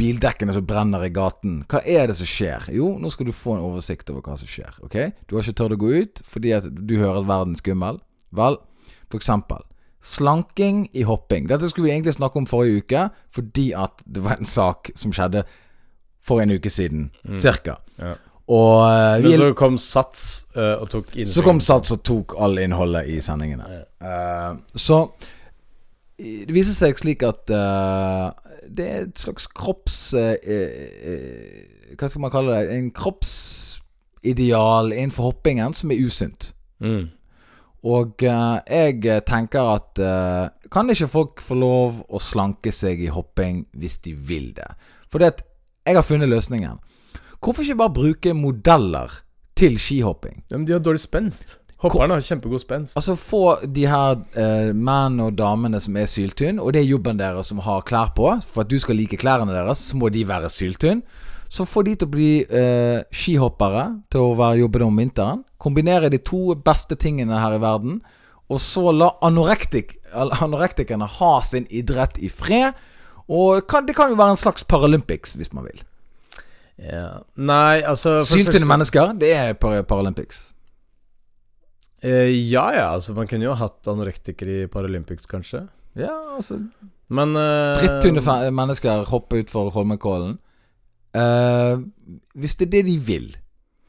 bildekkene som brenner i gaten? Hva er det som skjer? Jo, nå skal du få en oversikt over hva som skjer. ok? Du har ikke tørt å gå ut fordi at du hører at verden er skummel. Vel, for eksempel. Slanking i hopping. Dette skulle vi egentlig snakke om forrige uke, fordi at det var en sak som skjedde for en uke siden, cirka. Mm. Ja. Og eh, vi, Men så kom Sats eh, og tok inn så kom Sats og tok all innholdet i sendingene. Eh, så det viser seg slik at eh, det er et slags kropps... eh, eh, hva skal man kalle det? En kroppsideal innenfor hoppingen som er usunt. Mm. Og eh, jeg tenker at eh, Kan ikke folk få lov å slanke seg i hopping hvis de vil det? For det at jeg har funnet løsningen. Hvorfor ikke bare bruke modeller til skihopping? Ja, men de har dårlig spenst. Hopperne har kjempegod spenst. Altså få de her eh, menn og damene som er syltynn, og det er jobben deres som har klær på. For at du skal like klærne deres, så må de være syltynn. som får de til å bli eh, skihoppere, til å være, jobbe om vinteren. Kombinere de to beste tingene her i verden, og så la anorektik, al- anorektikerne ha sin idrett i fred. Og kan, det kan jo være en slags Paralympics, hvis man vil. Ja. Nei, altså for det Syltynne mennesker, det er par Paralympics. første- Eh, Ja ja, altså man kunne jo hatt anorektikere i Paralympics, kanskje. Ja, altså Men eh, Drittunne fe- mennesker hopper utfor Holmenkollen. Eh, hvis det er det de vil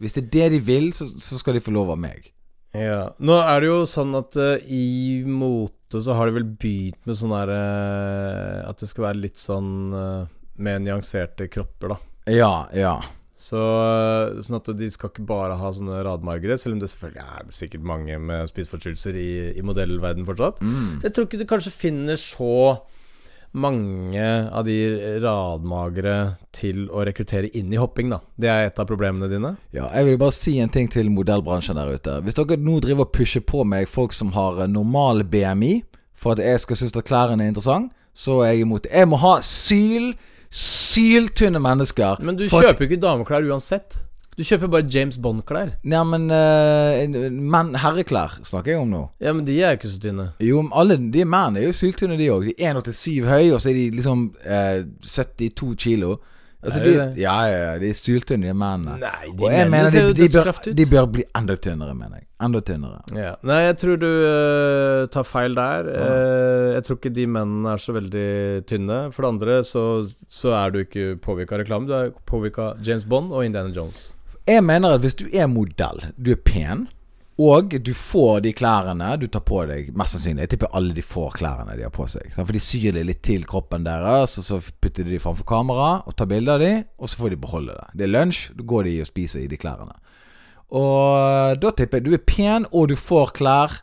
Hvis det er det de vil, så, så skal de få lov av meg. Ja. Nå er det jo sånn at eh, i mote så har de vel begynt med sånn der eh, At det skal være litt sånn eh, med nyanserte kropper, da. Ja, ja. Så, eh, sånn at de skal ikke bare ha sånne radmargere, selv om det selvfølgelig er sikkert mange med spiseforstyrrelser i, i modellverden fortsatt. Mm. Så jeg tror ikke du kanskje finner så mange av de radmagre til å rekruttere inn i hopping, da. Det er et av problemene dine. Ja, jeg vil bare si en ting til modellbransjen der ute. Hvis dere nå driver og pusher på meg folk som har eh, normal BMI, for at jeg skal synes at klærne er interessant, så er jeg imot det. Jeg må ha syl, syltynne mennesker. Men du for at- kjøper jo ikke dameklær uansett. Du kjøper bare James Bond-klær. Nei, men eh, menn, herreklær snakker jeg om nå. Ja, men de er jo ikke så tynne. Jo, men alle de mennene er jo syltynne, de òg. De er 1,87 høye, og så er de liksom eh, 72 kilo. Altså, Er de, det det? ja, ja, ja, de er syltynne, de mennene. Nei, og jeg mener de, ser jo de, bør, dødskraft ut. de bør bli enda tynnere, mener jeg. Enda tynnere. ja. Nei, jeg tror du eh, tar feil der. Eh, jeg tror ikke de mennene er så veldig tynne. For det andre så, så er du ikke påvirka av reklame. Du er påvirka av James Bond og Indiana Jones. Jeg mener at hvis du er modell, du er pen, og du får de klærne du tar på deg Mest sannsynlig. Jeg tipper alle de får klærne de har på seg. sant? For de syr det litt til kroppen deres, og så putter de de framfor kamera og tar bilder av de, og så får de beholde det. Det er lunsj, da går de og spiser i de klærne. Og da tipper jeg du er pen, og du får klær.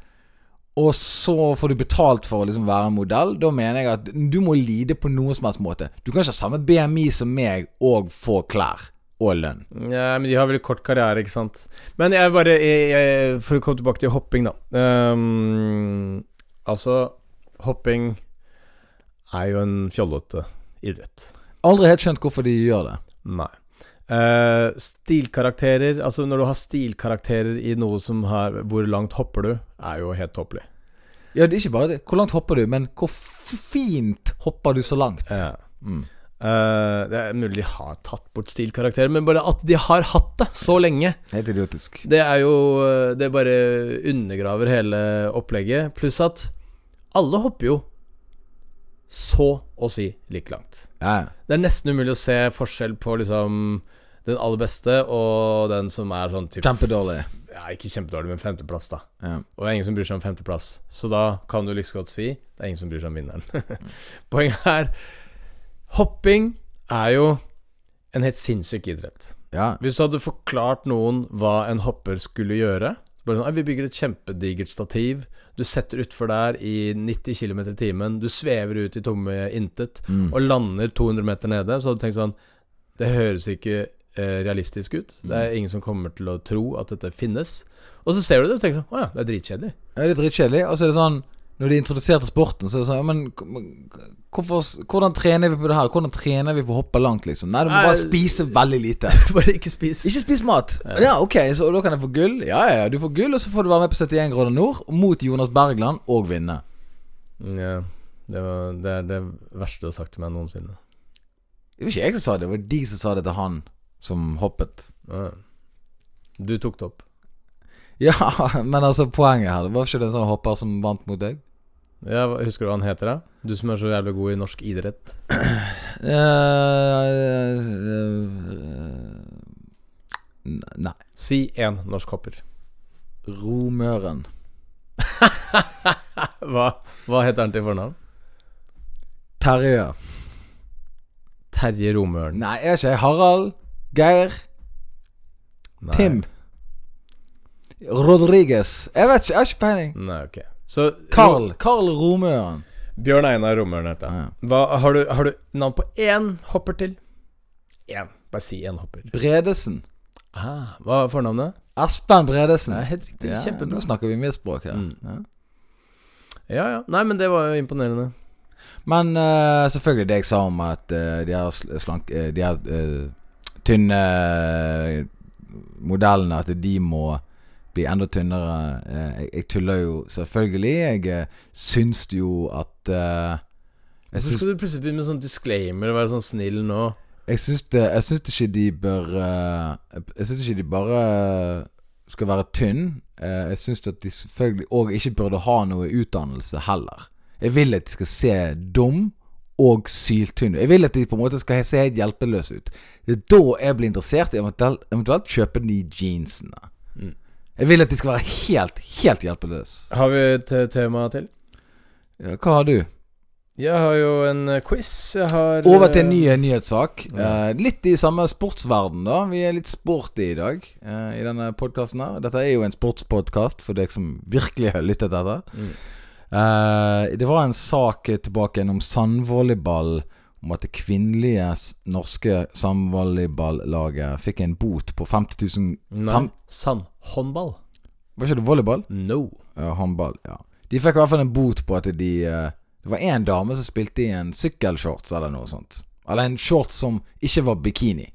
Og så får du betalt for å liksom være en modell. Da mener jeg at du må lide på noen som helst måte. Du kan ikke ha samme BMI som meg og få klær og lønn. Ja, men de har veldig kort karriere, ikke sant. Men jeg bare jeg, jeg, For å komme tilbake til hopping, da. Ehm, altså, hopping er jo en fjollete idrett. Aldri helt skjønt hvorfor de gjør det. Nei. Eh, stilkarakterer Altså, når du har stilkarakterer i noe som har Hvor langt hopper du, er jo helt tåpelig. Ja, det er ikke bare det. Hvor langt hopper du, men hvor f- fint hopper du så langt? Eh, Mm. eh, det er mulig de har tatt bort stilkarakterer, men bare at de har hatt det så lenge, Helt idiotisk. det er jo eh, Det bare undergraver hele opplegget. Pluss at alle hopper jo så å si like langt. Ja, ja. Det er nesten umulig å se forskjell på liksom den aller beste og den som er sånn typ, Kjempedårlig. ja, Ikke kjempedårlig, men femteplass, da. Ja. Og det er ingen som bryr seg om femteplass. Så da kan du like så godt si det er ingen som bryr seg om vinneren. <laughs> Poenget er hopping er jo en helt sinnssyk idrett. ja. Hvis du hadde forklart noen hva en hopper skulle gjøre bare sånn, «Nei, Vi bygger et kjempedigert stativ. Du setter utfor der i 90 km i timen. Du svever ut i tomme intet og lander 200 meter nede. Så hadde du tenkt sånn Det høres ikke eh, realistisk ut. Det er ingen som kommer til å tro at dette finnes. Og så ser du det og tenker sånn Å ja, det er dritkjedelig. <laughs> Ja, Det er dritkjedelig. Og så er det sånn Når de introduserte sporten, så er det sånn ja, Men k- men k- hvorfor, s- hvordan trener vi på det her? Hvordan trener vi på å hoppe langt, liksom? Nei, du må bare Nei. spise veldig lite. Bare ikke spis. Ikke spis mat. Ja, ok, så da kan jeg få gull. Ja, ja, ja, du får gull, og så får du være med på 71 grader nord mot Jonas Bergland og vinne. Mm, Ja, det, var, det er det verste du har sagt til meg noensinne. Det var ikke jeg som sa det, det var de som sa det til han som hoppet. Ja. Du tok det opp. Ja, <laughs> men altså poenget her Var ikke det en sånn hopper som vant mot deg? Ja, hva- Husker du hva han heter, da? Du som er så jævlig god i norsk idrett. eh eh, eh, nei Si én norsk hopper. Romøren Hva, hva heter han til fornavn? Terje Terje Romøren. Nei, jeg er ikke jeg. Harald Geir Nei. Tim Rodriguez Jeg vet ikke, jeg har ikke peiling Nei, ok. Så Karl, Karl Romøren Bjørn Einar Romøren heter Ja, ja. han. Hva, har, du, har du navn på én hopper til? Én. Bare si én hopper. Bredesen Ah, hva er fornavnet? Espen Bredesen Nei, helt riktig. Ja, Kjempebra. Nå snakker vi mitt språk her Mm. ja. Ja, ja. Nei, men det var jo imponerende. Men eh, selvfølgelig det jeg sa om at eh, de har sl- slank... eh, de har eh, tynne eh, modellene, at de må bli enda tynnere. Eh, Jeg, jeg tuller jo selvfølgelig. Jeg eh, syns jo at eh, jeg Hvorfor syns, skal du plutselig begynne med sånn disclaimer og være sånn snill nå? jeg, syns det, jeg syns ikke de bør eh, jeg- Jeg syns ikke de bare eh, skal være tynn Eh, Jeg syns at de selvfølgelig òg ikke burde ha noe utdannelse heller. Jeg vil at de skal se dum og syltynne ut. Jeg vil at de på en måte skal se helt hjelpeløse ut. Det er da jeg blir interessert i eventuelt, eventuelt kjøpe de jeansene. Jeg vil at de skal være helt, helt hjelpeløse. Har vi et eh, tema til? Ja, hva har du? Jeg har jo en eh, quiz. Jeg har Over til en eh, ny nyhetssak. Eh, litt i samme sportsverden, da. Vi er litt sporty i dag eh, i denne podkasten her. Dette er jo en sportspodkast for deg som virkelig har lyttet etter. Mm. Eh, det var en sak tilbake igjen om sandvolleyball. Om at det kvinnelige s- norske sandvolleyballaget fikk en bot på 50 000 eh, Nei. fem- Sandhåndball. Var ikke det volleyball? No. Ja, håndball, ja. De fikk i hvert fall en bot på at de eh, Det var én dame som spilte i en sykkelshorts eller noe sånt. Eller en shorts som ikke var bikini.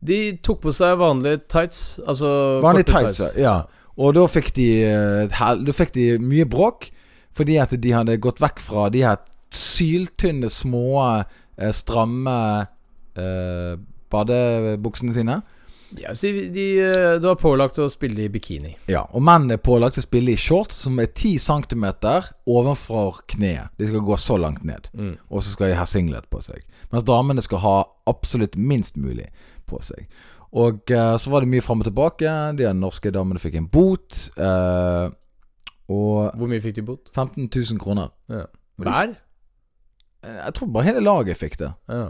De tok på seg vanlige tights. Altså Vanlig korte tights, ja. Og da fikk de eh, et hel- Da fikk de mye bråk, fordi at de hadde gått vekk fra de her syltynne, små, eh, stramme eh, badebuksene sine. Ja, så de, de, eh, du har pålagt å spille i bikini. Ja, og menn er pålagt å spille i shorts som er 10 cm ovenfor kneet. De skal gå så langt ned. Og så skal de ha singlet på seg. Mens damene skal ha absolutt minst mulig på seg. Og eh, så var det mye fram og tilbake. De norske damene fikk en bot. Eh, og Hvor mye fikk de bot? 15 000 kroner. Eh, Hver? Jeg tror bare hele laget fikk det. Ja.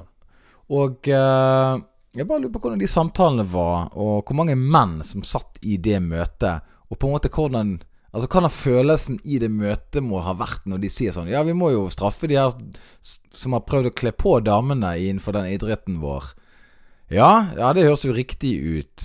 Og eh, jeg bare lurer på hvordan de samtalene var, og hvor mange menn som satt i det møtet, og på en måte hvordan Altså hvordan følelsen i det møtet må ha vært når de sier sånn Ja, vi må jo straffe de her s- som har prøvd å kle på damene innenfor den idretten vår. Ja, ja, det høres jo riktig ut.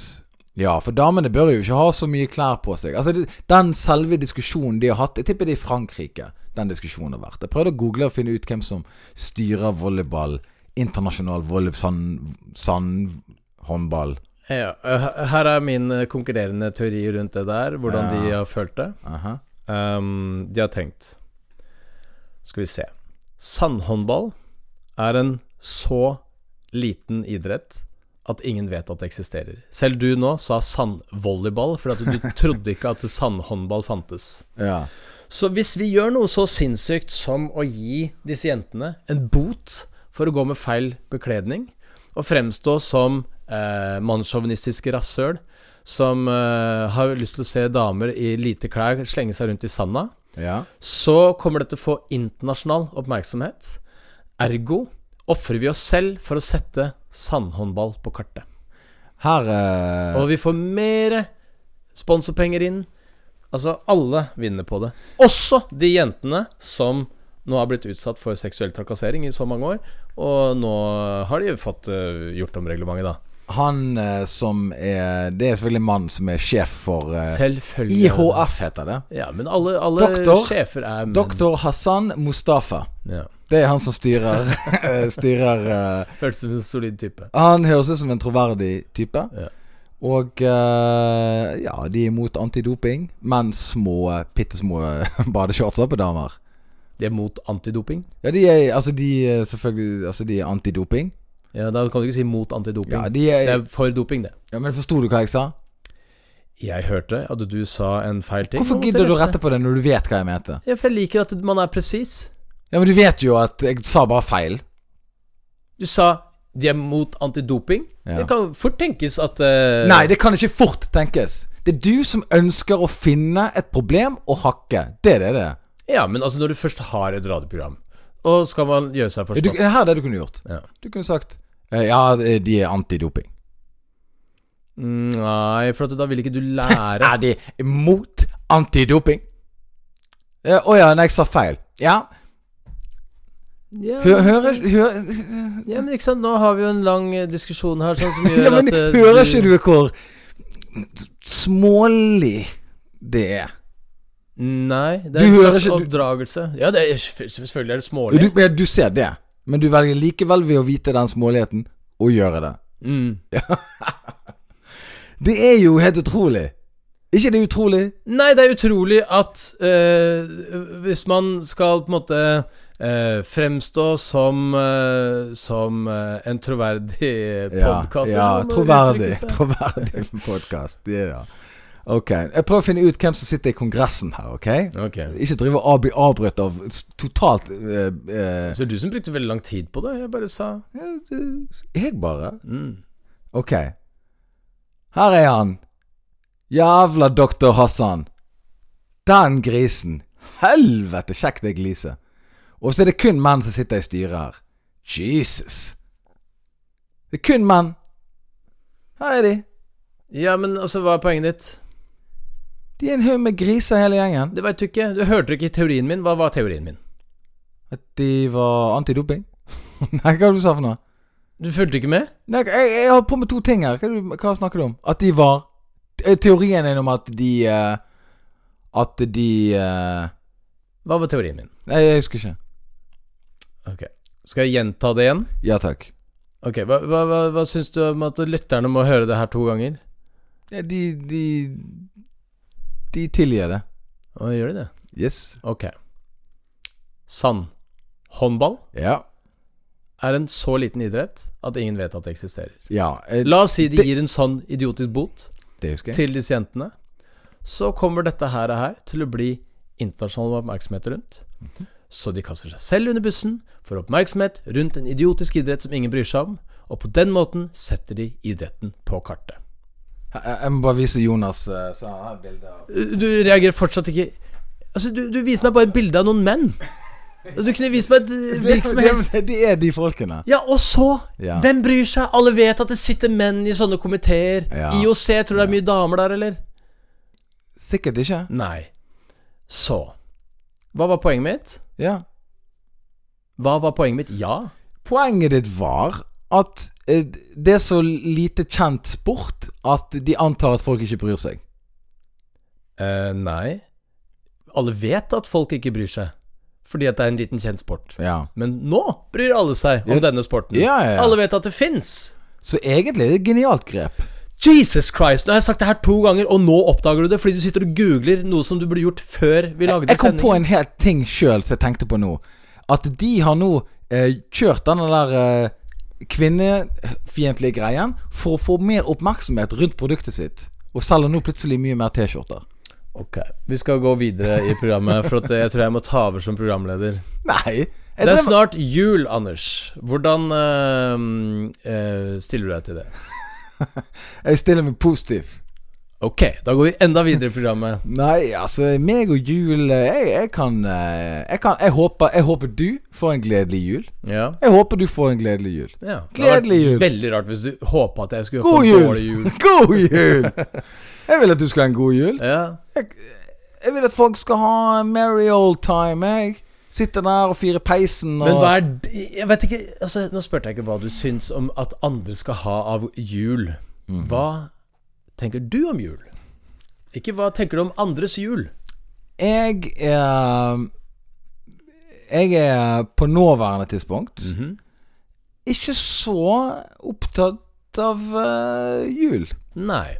Ja, for damene bør jo ikke ha så mye klær på seg. Altså, det, Den selve diskusjonen de har hatt Jeg tipper det er i Frankrike den diskusjonen har vært. Jeg prøvde å google og finne ut hvem som styrer volleyball. Internasjonal volleyball, sånn, sand, sandhåndball. ja. eh, Her er min eh, konkurrerende teori rundt det der, hvordan Ja. de har følt det. Aha. Ehm, de har tenkt Skal vi se. Sandhåndball er en så liten idrett at ingen vet at det eksisterer. Selv du nå sa sandvolleyball fordi at du trodde ikke at sandhåndball fantes. Ja. Så hvis vi gjør noe så sinnssykt som å gi disse jentene en bot for å gå med feil bekledning, og fremstå som eh, mannssjåvinistiske rasshøl som eh, har lyst til å se damer i lite klær slenge seg rundt i sanda, ja. så kommer det til å få internasjonal oppmerksomhet. Ergo ofrer vi oss selv for å sette sandhåndball på kartet. Her eh, Og vi får mer sponsorpenger inn. Altså, alle vinner på det. Også de jentene som nå har blitt utsatt for seksuell trakassering i så mange år. Og nå har de fått eh, gjort om reglementet, da. Han eh, som er Det er selvfølgelig en mann som er sjef for eh, Selvfølgelig. er det det. IHF, heter det. Ja, men alle, alle Doktor. sjefer er menn. Doktor Hassan Mustafa. Ja. Det er han som styrer <laughs> Styrer eh, Hørtes ut som en solid type. Han høres ut som en troverdig type. Ja. Og eh, ja, de er imot antidoping, men små, bitte små <laughs> badeshortser på damer. De er mot antidoping. Ja, de er altså de er selvfølgelig Altså, de er antidoping. Ja, Da kan du ikke si mot antidoping. Ja, de er, Det er for doping, det. ja, men forsto du hva jeg sa? Jeg hørte at du sa en feil ting. Hvorfor og måtte gidder du å rette rette på det når du vet hva jeg mente? det. Ja, For jeg liker at man er presis. Ja, men du vet jo at jeg sa bare feil. Du sa de er mot antidoping. Ja. Det kan fort tenkes at eh, Nei, det kan ikke fort tenkes. Det er du som ønsker å finne et problem og hakke. Det er det det er. Ja, men altså når du først har et radioprogram, og skal man gjøre seg Du, forstått her er det du kunne gjort. Ja. Du kunne sagt eh, Ja, de er antidoping. Mm, Nei, for at da vil ikke du Er, lære de mot antidoping? Eh, Å ja, nei, jeg sa feil. Ja. ja, Hø, hører hø, ja, men ikke sant, nå har vi jo en lang eh, diskusjon her sånn som <laughs> gjør ja, men, at eh, Hører ikke du hvor smålig det er? Nei, Du det er en hører slags ikke- du- oppdragelse. Ja, det er, selvfølgelig er det Du, smålig. ja, du ser det, men du velger likevel ved å vite den småligheten å gjøre det. Mm. Det er jo helt utrolig! Ikke det utrolig? Nei, det er utrolig at eh, hvis man skal på en måte eh, fremstå som, eh, som eh, en troverdig podkast ja, troverdig. Troverdig <laughs> podkast. Ja, ja. Ok. Jeg prøver å finne ut hvem som sitter i Kongressen her, OK? Ok. Ikke drive og bli avbrutt av s- totalt eh, eh, Så det er du som brukte veldig lang tid på det. Jeg bare sa Jeg bare. mm. Ok. Her er han. Jævla doktor Hassan. Den grisen. Helvete, sjekk det gliset. Og så er det kun menn som sitter i styret her. Jesus. Det er kun menn. Her er de. Ja, men altså, hva er poenget ditt? De er en haug med griser, hele gjengen. Det veit du ikke. Du hørte ikke teorien min. Hva var teorien min? At de var antidoping? <laughs> Nei, hva var det du sa for noe? Du fulgte ikke med? Nei, jeg, jeg har på med to ting her. Hva, er det du- hva snakker du om? At de var eh, Teorien er om at de eh, At de eh, Hva var teorien min? Nei, jeg husker ikke. Ok Skal jeg gjenta det igjen? Ja takk. Ok, Hva, hva, hva, hva syns du om at lytterne må høre det her to ganger? Ja, de De De tilgir det. Å, gjør de det? Yes. Ok. Sand. Håndball Ja. er en så liten idrett at ingen vet at det eksisterer. Ja. eh, La oss si de Det- gir en sånn idiotisk bot det husker jeg. til disse jentene. Så kommer dette her, og her til å bli internasjonal oppmerksomhet rundt. Mhm. Så de kaster seg selv under bussen, får oppmerksomhet rundt en idiotisk idrett som ingen bryr seg om, og på den måten setter de idretten på kartet. eh, Jeg, jeg må bare vise Jonas eh, så han har et bilde av Du reagerer fortsatt ikke Altså, du, du viser meg bare et bilde av noen menn. Du kunne vist meg et eh, hvilket som helst Det, det er de folkene. Ja, og så? Ja. Hvem bryr seg? Alle vet at det sitter menn i sånne komiteer. Ja. IOC, tror du det er mye damer der, eller? Sikkert ikke. Nei. Så Hva var poenget mitt? Ja. Hva var poenget mitt? Ja. Poenget ditt var at eh, det er så lite kjent sport at de antar at folk ikke bryr seg. Eh, nei. Alle vet at folk ikke bryr seg, fordi at det er en liten kjent sport. Ja. Men nå bryr alle seg om Ja. denne sporten. Ja, ja, ja. Alle vet at det fins. Så egentlig er det et genialt grep. Jesus Christ, nå har jeg sagt det her to ganger, og nå oppdager du det fordi du sitter og googler noe som du burde gjort før vi lagde Jeg kom sendingen. på en hel ting sjøl som jeg tenkte på nå. At de har nå eh, kjørt denne der eh, kvinnefiendtlige greien for å få mer oppmerksomhet rundt produktet sitt. Og selger nå plutselig mye mer T-skjorter. Ok, Vi skal gå videre i programmet, for at jeg tror jeg må ta over som programleder. Nei! Jeg Det er drev- snart jul, Anders. Hvordan eh, eh, stiller du deg til det? jeg stiller meg positiv. Ok, da går vi enda videre i programmet. Nei, altså, meg og jul eh, Jeg, jeg kan eh, Jeg, kan, jeg, håper, jeg håper du får en gledelig jul. Ja. Jeg håper du får en gledelig jul. ja. Det hadde vært Gledelig jul. Veldig rart hvis du håpa at jeg skulle God få en jul! dårlig jul. <laughs> God jul! Jeg vil at du skal ha en god jul. Ja. Jeg vil at folk skal ha en merry old time, jeg. Sitte der og fire peisen og Men hva er det Jeg vet ikke altså, Nå spurte jeg ikke hva du syns om at andre skal ha av jul. Mhm. Hva tenker du om jul? Ikke hva tenker du om andres jul? Jeg er Jeg er på nåværende tidspunkt Mhm. ikke så opptatt av eh, jul. Nei.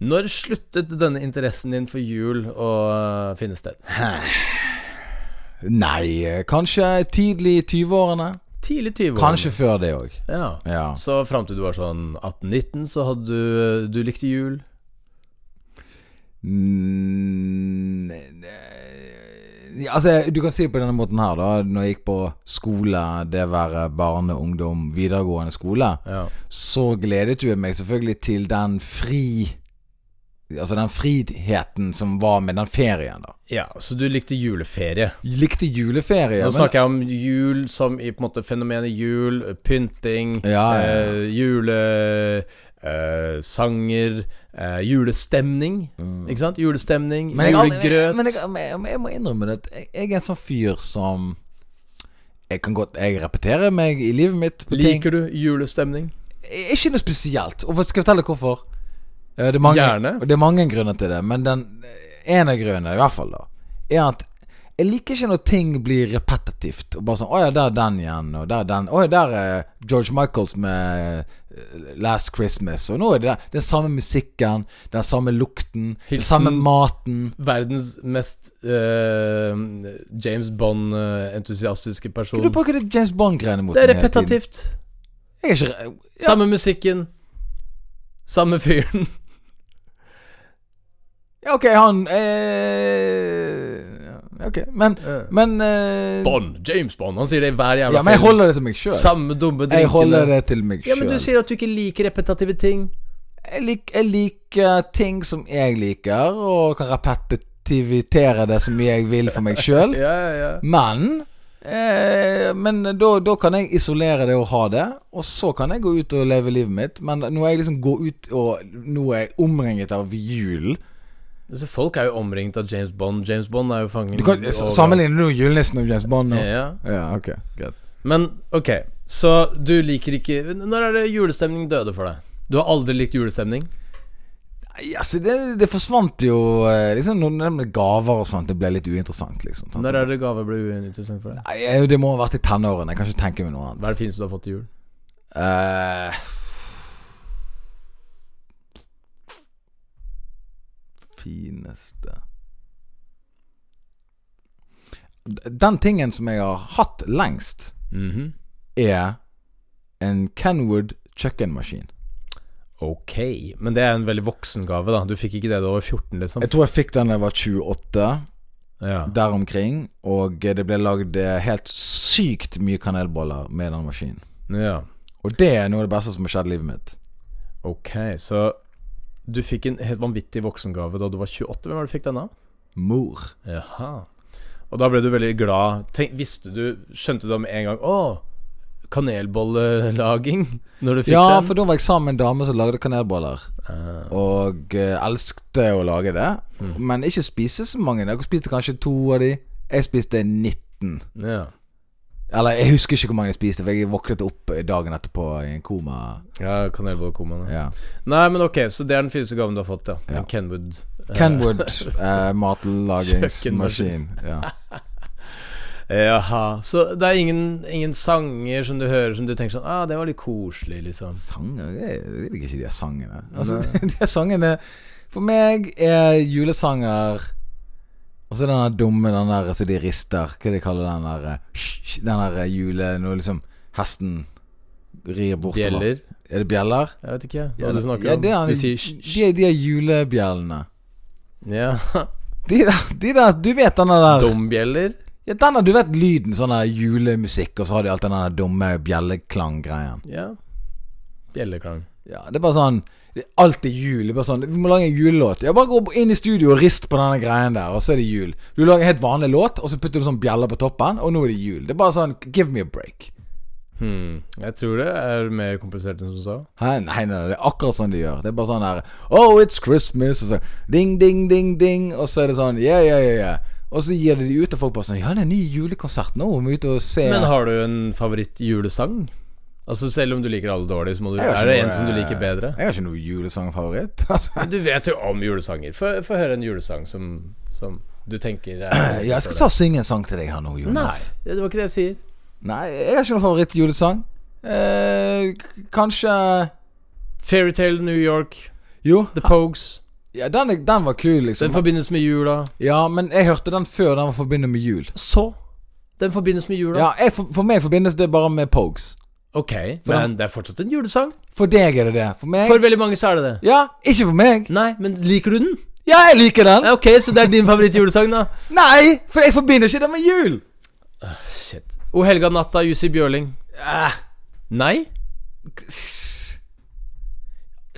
Når sluttet denne interessen din for jul å øh, finne sted? Nei, eh, kanskje tidlig i 20-årene. Tidlig 20 år. Kanskje før det òg. Ja. Ja. Så fram til du var sånn 18-19, så hadde du øh, Du likte jul. Mm, eh, altså, du kan si det på denne måten her, da. Når jeg gikk på skole, det være barne, ungdom, videregående skole, Ja. så gledet jo jeg meg selvfølgelig til den fri Altså den friheten som var med den ferien, da. ja. Så du likte juleferie. Likte juleferie. Nå men- snakker jeg om jul som i på en måte fenomenet jul, pynting, Ja, ja, ja. eh, julesanger, eh, julestemning. Ikke sant? Julestemning, Mm. Men jeg, julegrøt. men, jeg, men, jeg, men jeg må innrømme det. at Jeg, jeg er en sånn fyr som Jeg kan godt Jeg repeterer meg i livet mitt på ting. Liker du julestemning? Eh, Ikke noe spesielt. Og skal jeg fortelle hvorfor? Eh, Det er mange, Gjerne. og Det er mange grunner til det, men den eh, ene grunnen, i hvert fall, da er at Jeg liker ikke når ting blir repetitivt. Og bare sånn 'Å ja, der er den igjen', og der er den 'Å ja, der er George Michaels med eh, 'Last Christmas', og nå er det der. Den samme musikken, den samme lukten, den Hilsen- samme maten. Verdens mest eh, James Bond-entusiastiske person. Du bruker det James Bond-greiene mot Det er meg hele tiden. repetitivt. Jeg er ikke re- ja, Samme musikken. Samme fyren. ja, ok, han eh, ja, Ok, men Men eh, <laughs> Bond. James Bond. Han sier det i hver jævla Ja, men jeg holder det til meg sjøl. Samme dumme drinkene. Jeg holder det til meg Ja, men sjøl. du sier at du ikke liker repetitive ting. Jeg, lik, jeg liker ting som jeg liker, og kan repetitivitere det så mye jeg vil for meg sjøl. <laughs> Ja, ja, ja. Men eh, Men da, da kan jeg isolere det og ha det, og så kan jeg gå ut og leve livet mitt. Men når jeg liksom går ut og Nå er jeg omringet av julen. Så Altså, folk er jo omringet av James Bond. James Bond er jo fangen Du kan overalt. Sammenligner du julenissen og James Bond nå? Mm, Ja, ja. Ja, ok. Greit. Men ok, så du liker ikke Når er det julestemning døde for deg? Du har aldri likt julestemning? Nei, altså, det, det forsvant jo eh, liksom, Når det med gaver og sånt, det ble litt uinteressant. liksom sant? Når er det gaver ble uinteressant for deg? Nei, jeg- Det må ha vært i tenårene. Jeg kan ikke tenke meg noe Hva er annet. det fineste du har fått til jul? Eh, fineste D- Den tingen som jeg har hatt lengst, Mhm. er en Kenwood kjøkkenmaskin. Ok, men det er en veldig voksen gave, da. Du fikk ikke det da du var 14, liksom? Jeg tror jeg fikk den da jeg var 28. Ja. der omkring, og det ble lagd eh, helt sykt mye kanelboller med den maskinen. ja. Og det er noe av det beste som har skjedd i livet mitt. Ok, så du fikk en helt vanvittig voksengave da du var 28. Hvem var det du fikk den av? Mor. Jaha. Og da ble du veldig glad. Tenk, visste du, Skjønte du da med en gang Å, kanelbollelaging? <laughs> Når du fikk Ja, den? for da var jeg sammen med en dame som lagde kanelboller, Ah. Mm. og eh, elsket å lage det. Men ikke spise så mange. Dere spiste kanskje to av de. Jeg spiste 19. ja. Eller jeg husker ikke hvor mange jeg spiste, for jeg våknet opp dagen etterpå i en koma. ja kanelbollekomaen. Ja. Ja. Nei, men ok, så det er den fineste gaven du har fått, ja. Ja. En Kenwood. eh, <laughs> Kenwood eh, matlagingsmaskin. Ja. Jaha. Så det er ingen, ingen sanger som du hører som du tenker sånn Ah, det var litt koselig, liksom. Sanger Jeg jeg liker ikke de sangene. Altså, <laughs> de sangene For meg er julesanger Og så den der dumme, den der som de rister Hva de kaller den der eh, sh- Den der eh, jule Når liksom hesten rir bortover. Bjeller? Er det bjeller? Jeg vet ikke hva Ja, du snakker ja, om. det er- du sier sj-sj. De er de er julebjellene. <laughs> Ja. De der, de der Du vet den der Dombjeller? ja, denne, Du vet lyden sånn der julemusikk, og så har de alltid den der dumme bjelleklanggreien. Ja. Bjelleklang. Ja, det er bare sånn det er Alltid jul. Det er bare sånn Vi må lage en julelåt. Ja, bare gå inn i studio og rist på denne greien der, og så er det jul. Du lager en helt vanlig låt, og så putter du sånn bjeller på toppen, og nå er det jul. Det er bare sånn Give me a break. Hmm. Jeg tror det er mer komplisert enn som så. Hæ? Nei, nei, det er akkurat sånn de gjør. Det er bare sånn der Oh, it's Christmas, og så ding, ding, ding, ding, og så er det sånn Yeah, yeah, yeah, yeah. Og så gir de de ut, og folk bare sånn Ja, det er en ny julekonsert nå, vi må ut og se Men har du en favorittjulesang? Altså Selv om du liker alle dårlig, så må du, Jeg eh, har ikke er det en noe- som du liker bedre? Jeg har ikke noe julesangfavoritt. <laughs> Altså. Du vet jo om julesanger. Få få høre en julesang som, som du tenker er <clears throat> Jeg skal ta og synge en sang til deg her nå, Jonas. Nei, det var ikke det jeg sier. Nei, jeg har ikke noen favorittjulesang. Eh, k- kanskje Fairytale New York, Jo, The Pogues. ja, den, er- den var kul, Den liksom. forbindes med jula. Ja, men jeg hørte den før den var forbundet med jul. Så? Den forbindes med jula. Ja, jeg, for, for meg forbindes det bare med Pogues. Ok, men det er fortsatt en julesang. For deg er det det. For meg For veldig mange så er det det. Ja, ikke for meg. Nei, men liker du den? Ja, jeg liker den. Ja, ok, så det er din favorittjulesang, da. Nei, for jeg forbinder ikke det med jul. Shit. Ah. O helga natta, Jussi Bjørling. Eh, Nei?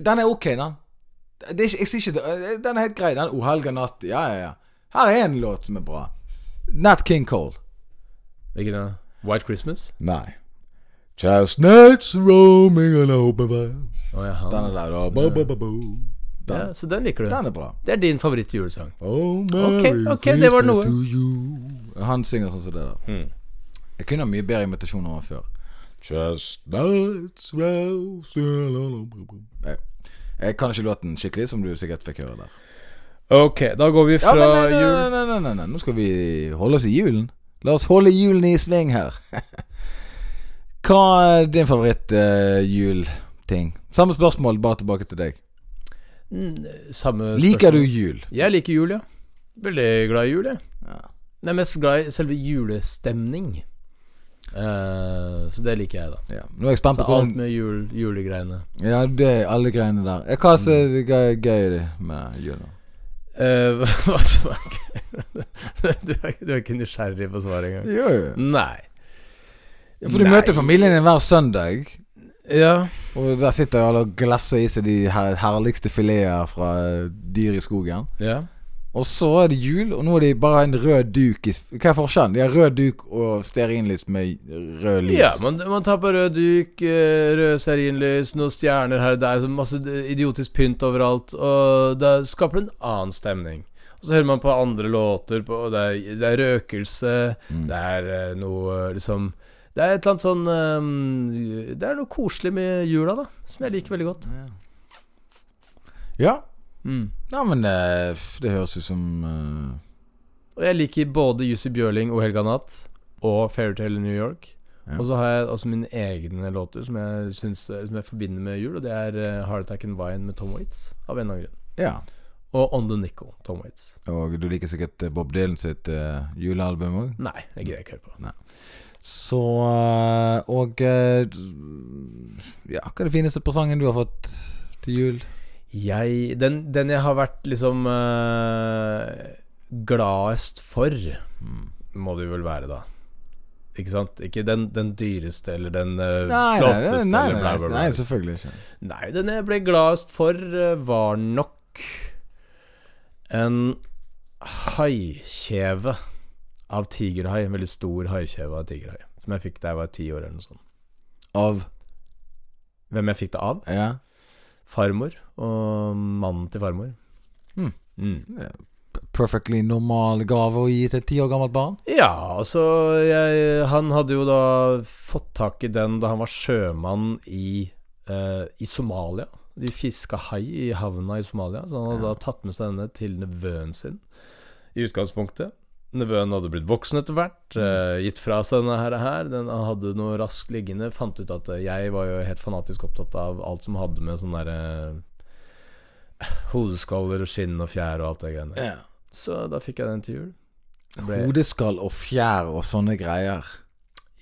Den er ok, den. Det er ikke, jeg sier ikke det. eh, Den er helt grei, den. O helga natt. Ja, ja, ja. Her er en låt som er bra. Nat King Cole. Hvilken da? White Christmas? Nei. Chestnuts roaming an open fire. Å, jaha. Den er der, da. Ba, ba, ba, ba. Den, Ja, så den liker du. den er bra. Det er din favorittjulesang. Oh, Mary, ok, det var noe. Christmas Han synger sånn som det der. Hmm. Jeg kunne ha mye bedre imitasjon enn han før. Chestnuts roasting on a- Nei, Jeg kan ikke låten skikkelig, som du sikkert fikk høre der. Ok, da går vi Ja, fra men nei, nei, jul nei, nei, nei, nei, nei, nå skal vi holde oss i julen. La oss holde julen i sving her. <laughs> Hva er din favoritt-julting? Samme spørsmål, bare tilbake til deg. Mm, Samme Liker du spørsmål. jul? Jeg liker jul, ja. Veldig glad i jul, jeg. Ja. Jeg er mest glad i selve julestemning. Eh, så det liker jeg, da. Ja. Nå er jeg spent Så på alt hvordan med jul, julegreiene. Ja, det er alle greiene der. Ja, Hva er så gøy, gøy det med jula? Eh, <laughs> hva som er gøy <laughs> du, er, du er ikke nysgjerrig på svaret engang. Jo, jo. Nei. For du Nei. møter familien din hver søndag, Ja. og der sitter alle og glefser i seg de her herligste fileter fra eh, dyr i skogen. ja. Og så er det jul, og nå er de bare en rød duk i Hva er forskjellen? De har rød duk og stearinlys med rød lys. Ja, man, man tar på rød duk, eh, røde stearinlys, noen stjerner her og der, så masse idiotisk pynt overalt, og da skaper det en annen stemning. Og så hører man på andre låter, på, og det, er, det er røkelse, det er eh, noe eh, liksom Det er et eller annet sånn eh, Det er noe koselig med jula, da, som jeg liker veldig godt. ja. Mm. Ja, men eh, f- det høres ut som eh, Og jeg liker både Jussi Bjørling og Helga Natt og Fairytale New York. Ja. Og så har jeg også mine egne låter som jeg, syns, som jeg forbinder med jul, og det er eh, Heart Attack and Wine med Tom Waits, av en eller annen grunn. Ja. Og On The Nickel, Tom Waits. Og du liker sikkert eh, Bob Dylan sitt eh, julealbum òg. Nei, det gidder jeg ikke høre på. Så eh, Og eh, Ja, hva er det fineste presangen du har fått til jul? Jeg, den, den jeg har vært liksom eh, gladest for, mm, må det jo vel være, da. Ikke sant? Ikke den, den dyreste eller den eh, flotteste nei, eller bla, bla, bla. nei, selvfølgelig ikke. Nei, den jeg ble gladest for, eh, var nok en haikjeve av tigerhai. En veldig stor haikjeve av tigerhai. Som jeg fikk da jeg var ti år eller noe sånt. Av Hvem jeg fikk det av? Ja. Farmor og mannen til farmor. Hmm. Mm. Perfectly normal gave å gi til et ti år gammelt barn? Ja, altså jeg, Han hadde jo da fått tak i den da han var sjømann i, eh, i Somalia. De fiska hai i havna i Somalia, så han hadde da tatt med seg denne til nevøen sin i utgangspunktet. Nevøen hadde blitt voksen etter hvert, eh, gitt fra seg denne her, her. Den han hadde noe raskt liggende. Fant ut at eh, jeg var jo helt fanatisk opptatt av alt som hadde med sånn sånne derre Hodeskaller og skinn og fjær og alt det greiene. Ja. Så da fikk jeg den til jul. Ble- Hodeskall og fjær og sånne greier.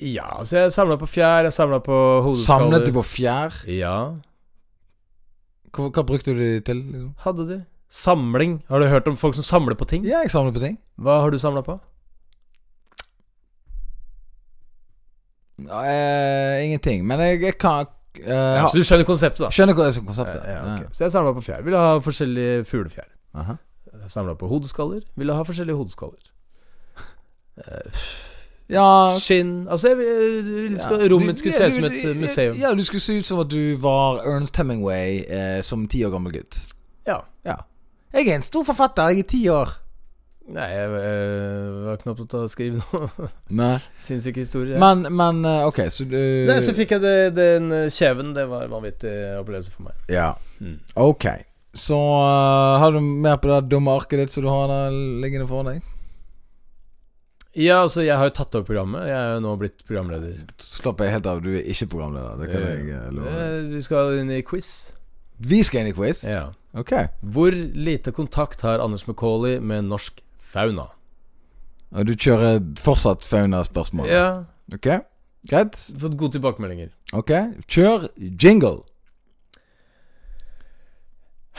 Ja, så jeg samla på fjær, jeg samla på hodeskaller. Samlet du på fjær? Ja, Hva, hva brukte du de til? Liksom? hadde de. Samling. Har du hørt om folk som samler på ting? Ja, jeg samlet på ting. Hva har du samla på? Ja, eh, ingenting. Men jeg, jeg kan eh, Ja, ha- så du skjønner konseptet, da. Skjønner hva som konseptet Ja, ok. Så jeg samla på fjær. Ville ha forskjellige fuglefjær. Aha. Samla på hodeskaller. Ville ha forskjellige hodeskaller. Ja, Skinn Altså, jeg, vil- jeg, skal, rommet skulle se ut som et eh, museum. Ja, du skulle se ut som at du var Ernst Hemingway eh, som ti år gammel gutt. Ja. Ja. Jeg er en stor forfatter, jeg er ti år. Nei, jeg eh, var knapt opptatt av å skrive noe <laughs> Nei. sinnssyke historier. jeg. Men, men eh, OK, så du Nei, så fikk jeg det, den eh, kjeven. Det var en vanvittig opplevelse for meg. Ja. Mm. Ok. Så eh, har du mer på det dumme arket ditt som du har der liggende foran deg? Ja, altså, jeg har jo tatt over programmet. Jeg er jo nå blitt programleder. Slapp jeg helt av, du er ikke programleder. Det kan jeg eh, love. deg. Eh, Vi skal inn i quiz. Vi skal inn i quiz. Ja. Ok. Hvor lite kontakt har Anders Macauley med norsk fauna? Og du kjører fortsatt fauna-spørsmål? Ja, Ok, greit. fått gode tilbakemeldinger. Ok, kjør jingle.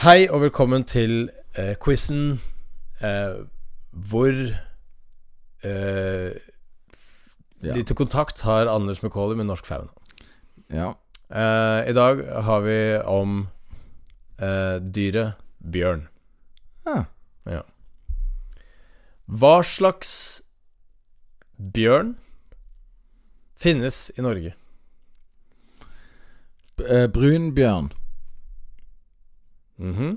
Hei og velkommen til eh, quizen eh, Hvor eh, Ja. lite kontakt har Anders Macauley med norsk fauna? Ja. Eh, I dag har vi om eh, dyret bjørn. Ah. Ja. Hva slags bjørn finnes i Norge? B- eh, Brunbjørn. Mhm.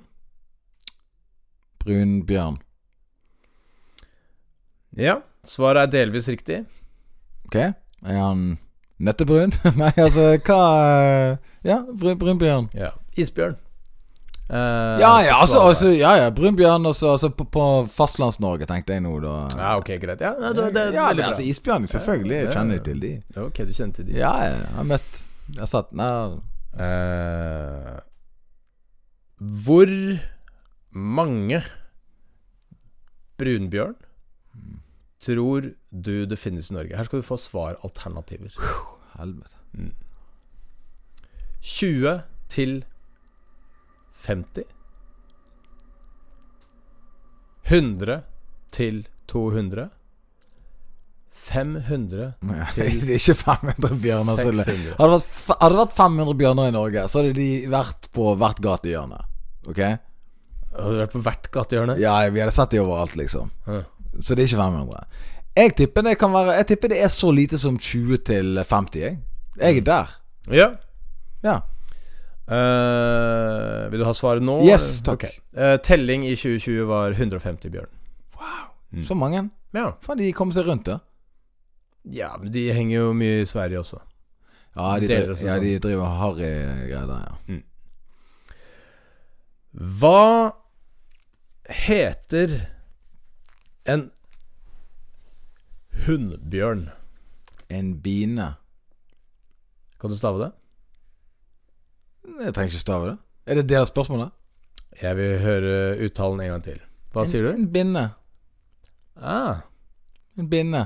Brunbjørn. Ja, svaret er delvis riktig. Ok, er han <laughs> nøttebrun? Nei, altså, hva eh, Ja, brun, brunbjørn. Ja. Isbjørn. eh, Ja, ja, på altså, Svalbard. altså ja, ja, Brunbjørn altså, altså, på, på Fastlands-Norge, tenkte jeg nå, da. Ja, ok, greit. Ja, nei, det, det, det, Ja, er det, altså bra. Isbjørn, selvfølgelig. Jeg kjenner jo til de. Ja, Ok, du kjenner til de. Ja, ja, jeg har møtt Jeg har sett Nei, Eh, hvor mange brunbjørn tror du det finnes i Norge? Her skal du få svaralternativer. helvete. 20 til 50. 100 til 200. <laughs> 500 Ja, Det til er ikke 500 bjørner. så det- 600. Hadde det vært, f- hadde det vært 500 bjørner i Norge, så hadde de vært på hvert gatehjørne. Ok? Har du vært på hvert gatehjørne? Ja, vi hadde sett de overalt, liksom. Ja. Så det er ikke 500. Jeg tipper det kan være Jeg tipper det er så lite som 20 til 50, jeg. Jeg er Mm. der. ja. Ja. Eh, vil du ha svaret nå? Yes, takk. Ok. Eh, telling i 2020 var 150 bjørn. Mm. Så mange. Ja. Faen, de kom seg rundt, ja. ja, men de henger jo mye i Sverige også. Ja, de, driver, Deler og ja, sånn. de driver harry greier der, ja. Hva heter en hunnbjørn? En bine. Kan du stave det? Jeg trenger ikke stave det. Er det det av spørsmålet? Jeg vil høre uttalen en gang til. Hva sier En, du? en binde. Ah, En binde.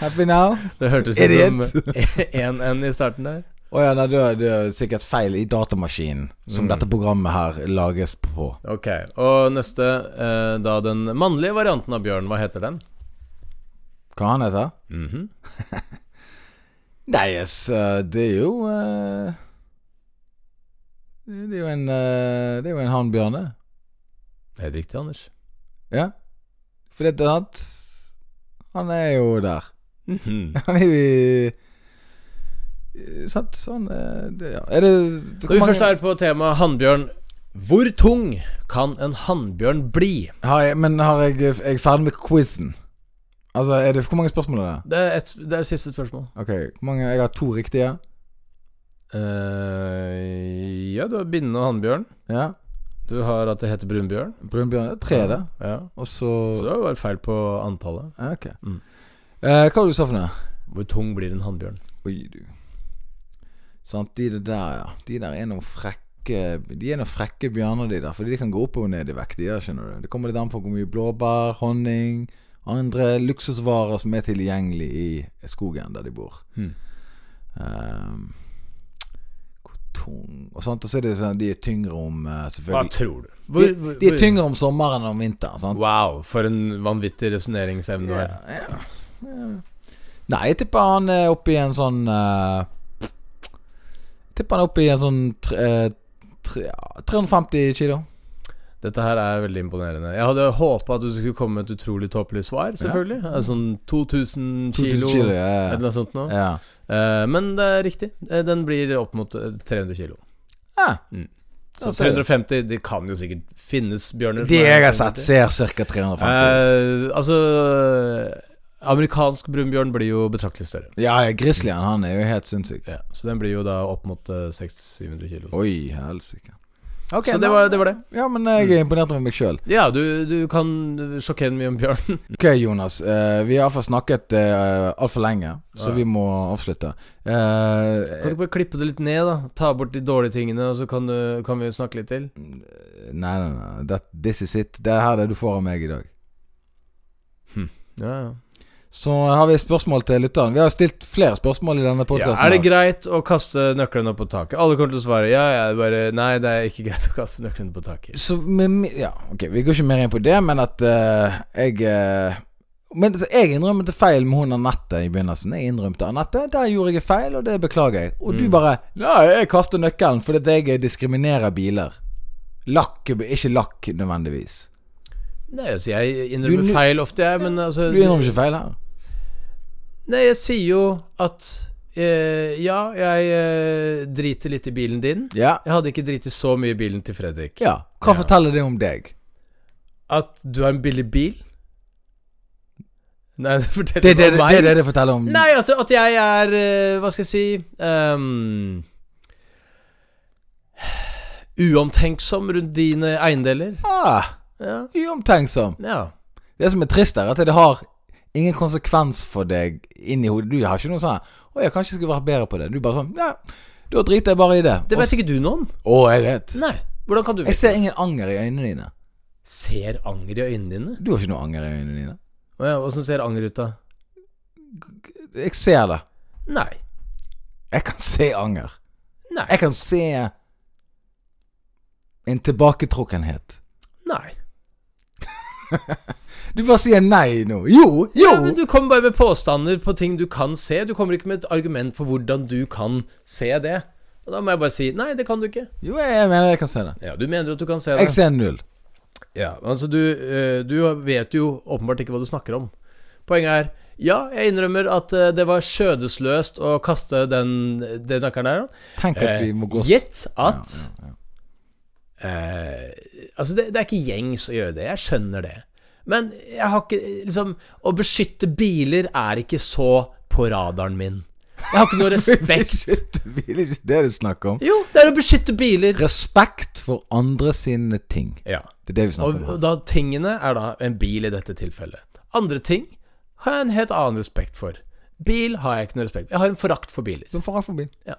Happy now? det hørtes ut som <laughs> en n i starten der. Å ja, nei, det er, det er sikkert feil i datamaskinen Mm. som dette programmet her lages på. Ok, og neste, eh, da den mannlige varianten av bjørn, hva heter den? Hva han heter? Mhm. Nei, yes, eh, det er jo eh, Det er jo en eh, Det er jo en hannbjørn, det. Det er helt riktig, Anders. Ja. For det er sant Han er jo der. <laughs> <laughs> Mhm. Han er jo i Sant? Sånn eh, det, ja. Er det Når vi først er på temaet hannbjørn, hvor tung kan en hannbjørn bli? har jeg, Men har jeg Er jeg ferdig med quizen? Altså, er det Hvor mange spørsmål er det? Det er, et, det er siste spørsmål. Ok, hvor mange Jeg har to riktige. Eh, ja, du har bindende hannbjørn. Ja. Du har at det heter brunbjørn. Brunbjørn det er tre, det. Ja. Og så Så det var bare feil på antallet. ja, Ok. Mm. Eh, hva var det du sa for noe? Hvor tung blir en hannbjørn? Oi, du. Sant, de der, ja. De der er noen frekke De er noen frekke bjørner, de der. Fordi de kan gå opp og ned i vekt, de der, skjønner du. Det kommer litt an på hvor mye blåbær, honning, andre luksusvarer som er tilgjengelig i skogen der de bor. Hmm. Ehm, hvor tung Og sant, og så er det sånn de er tyngre om eh, Hva Selvfølgelig. tror du? De, de er tyngre om sommeren enn om vinteren, sant? Wow, for en vanvittig resonneringsevne du har. Nei, jeg tipper han er oppe i en sånn eh, Jeg tipper han er oppe i en sånn tre, eh, tre, ja, 350 kilo. Dette her er veldig imponerende. Jeg hadde håpa at du skulle komme med et utrolig tåpelig svar, selvfølgelig. Altså, Sånn 2000 kilo, 2000 kilo ja, eller ja. noe sånt noe. ja. Eh, men det er riktig. Eh, Den blir opp mot eh, 300 kilo. ja. Så Ja, ser du. 350 De kan jo sikkert finnes bjørner. som De er jeg har 350. sett, ser ca. 350 ut. Eh, altså Amerikansk brunbjørn blir jo betraktelig større. Ja, ja, grizzlyen han er jo helt sinnssyk. Ja, så den blir jo da opp mot eh, 600-700 kilo. Oi, helsike. så det var, Mm. det var det. Ja, men jeg er imponert over meg sjøl. Ja, du, du kan sjokkere mye om bjørn. Ok, Jonas. eh, vi har iallfall snakket uh, altfor lenge, så vi må avslutte. Eh, Kan du ikke bare klippe det litt ned, da? Ta bort de dårlige tingene, og så kan, du, kan vi snakke litt til? eh, Nei, nei, nei. That, this is it. Det er her det du får av meg i dag. Ja, ja. Så har vi spørsmål til lytteren. Vi har stilt flere spørsmål i denne ja. podkasten. Er det greit å kaste nøkkelen opp på taket? Alle kommer til å svare ja, ja, det er bare Nei, det er ikke greit å kaste nøkkelen på taket. Så med, mi- ja, ok, vi går ikke mer inn på det, men at eh, jeg eh, Men så jeg innrømmet feil med hun Anette i begynnelsen. Jeg innrømte Anette, der gjorde jeg feil, og det beklager jeg. Og Mm. du bare Nei, jeg kaster nøkkelen fordi at jeg eh, diskriminerer biler. Lakk Ikke lakk nødvendigvis. Nei, altså, jeg Du- innrømmer feil ofte, jeg, men altså Du innrømmer ikke feil her. Nei, jeg sier jo at eh, Ja, jeg eh, driter litt i bilen din. Ja. Jeg hadde ikke driti så mye i bilen til Fredrik. ja. Hva forteller det om deg? At du har en billig bil? Nei, <laughs> det forteller Det er det det, meg om meg. er det, det forteller om Nei, altså, at, at jeg er eh, Hva skal jeg si ehm, uomtenksom rundt dine eiendeler. Ah, Ja. uomtenksom. ja. Det som er trist, er at det har ingen konsekvens for deg inni hodet. Du har ikke noe sånn 'Å, jeg kanskje skulle vært bedre på det.' Du bare sånn Ja, da driter jeg bare i det. Det Og s- vet ikke du noe om. Å, jeg vet. Nei. Hvordan kan du Jeg vite? ser ingen anger i øynene dine. Ser anger i øynene dine? Du har ikke noe anger i øynene dine. Å ja, Åssen ser anger ut, da? Jeg ser det. Nei. Jeg kan se anger. Nei. Jeg kan se en tilbaketrukkenhet. Nei. Du bare sier nei nå. Jo, jo! Ja, men du kommer bare med påstander på ting du kan se. Du kommer ikke med et argument for hvordan du kan se det. Og da må jeg bare si nei, det kan du ikke. Jo, jeg mener jeg kan se det. Ja, Du mener at du kan se det. Jeg ser null. Ja, altså du, eh, du vet jo åpenbart ikke hva du snakker om. Poenget er ja, jeg innrømmer at eh, det var skjødesløst å kaste den, den nøkkelen der. Tenk at vi må gå Eh, Gitt at eh, Altså, det, det er ikke gjengs å gjøre det. Jeg skjønner det. Men jeg har ikke Liksom, å beskytte biler er ikke så på radaren min. Jeg har ikke <laughs> noe respekt Shit, det er ikke det du snakker om. Jo, det er å beskytte biler. Respekt for andre sine ting. Ja. Det er det vi Og, snakker om. og da tingene er da en bil i dette tilfellet. Andre ting har jeg en helt annen respekt for. Bil har jeg ikke noe respekt for. Jeg har en forakt for biler. Du får alt forbi. Ja.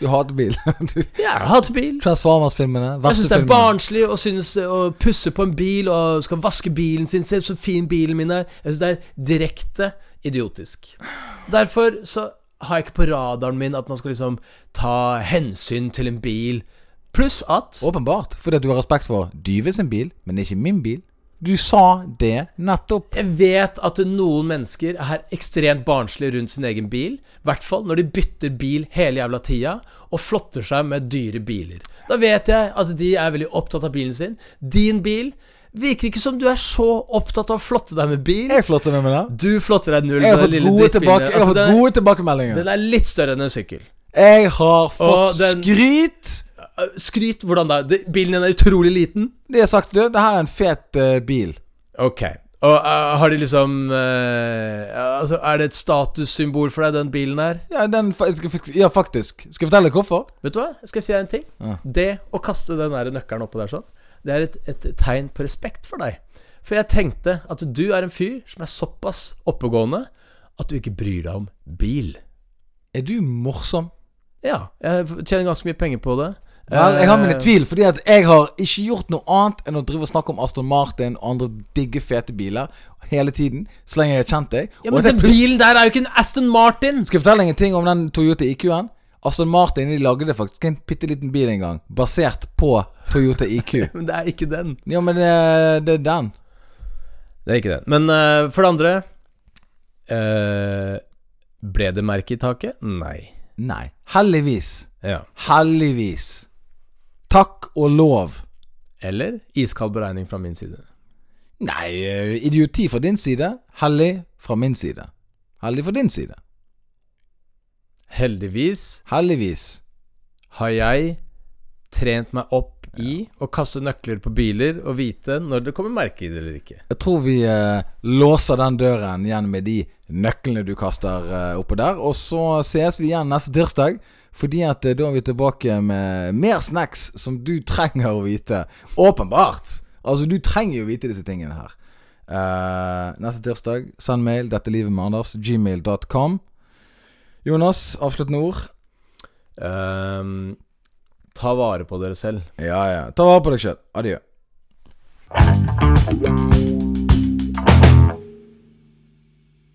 Du hater bil. <laughs> Du- Jeg hater bil. Transformers-filmene. Jeg Verste syns det er filmene. barnslig å synes eh, å pusse på en bil og skal vaske bilen sin. Se så fin bilen min er. Jeg syns det er direkte idiotisk. Derfor så har jeg ikke på radaren min at man skal liksom ta hensyn til en bil. Pluss at Åpenbart. Fordi at du har respekt for Dyve sin bil, men ikke min bil. Du sa det nettopp. jeg vet at noen mennesker er ekstremt barnslige rundt sin egen bil. I hvert fall når de bytter bil hele jævla tida og flotter seg med dyre biler. Da vet jeg at de er veldig opptatt av bilen sin. Din bil virker ikke som du er så opptatt av å flotte deg med bil. Jeg flotter meg med det. Du flotter deg null Jeg har med det fått lille gode, tilbake, drittbindet. jeg har Altså, fått den, gode tilbakemeldinger. den er litt større enn en sykkel. Jeg har Og fått den- skryt. Uh, Skryt hvordan da? Det- Bilen din er utrolig liten. De har sagt du, det her er en fet eh, bil. Ok. Og uh, har de liksom uh, Altså, er det et statussymbol for deg, den bilen her? Ja, den, fa- skal jeg fort- ja faktisk. Skal jeg fortelle deg hvorfor? Vet du hva? Skal jeg si deg en ting? Ja. Det å kaste den der nøkkelen oppå der sånn, det er et, et tegn på respekt for deg. For jeg tenkte at du er en fyr som er såpass oppegående at du ikke bryr deg om bil. Er du morsom? Ja. Jeg tjener ganske mye penger på det. Vel, jeg har Eh, mine tvil, fordi at jeg har ikke gjort noe annet enn å drive og snakke om Aston Martin og andre digge, fete biler hele tiden, så lenge jeg har kjent deg. Og Ja, men at jeg den plut- bilen der er jo ikke en Aston Martin! Skal jeg fortelle deg en ting om den Toyota IQ-en? Aston Martin de lagde faktisk en bitte liten bil en gang, basert på Toyota IQ. <laughs> Men det er ikke den. Ja, men det, det er den. Det er ikke den. Men eh, for det andre eh, Ble det merke i taket? Nei. Nei. Heldigvis. Ja. Heldigvis. Takk og lov. Eller iskald beregning fra min side. Nei, eh, idioti fra din side. Hellig fra min side. Hellig fra din side. Heldigvis Heldigvis. har jeg trent meg opp i å kaste nøkler på biler og vite når det kommer merke i det eller ikke. Jeg tror vi eh, låser den døren igjen med de nøklene du kaster eh, oppå der. Og så ses vi igjen neste tirsdag, fordi at eh, da er vi tilbake med mer snacks som du trenger å vite. Åpenbart! Altså, du trenger jo vite disse tingene her. Eh, neste tirsdag, send mail 'dette livet med Anders', gmail.com. Jonas, avsluttende ord? Ehm, ta vare på dere selv. Ja, ja. Ta vare på deg sjøl. Adjø.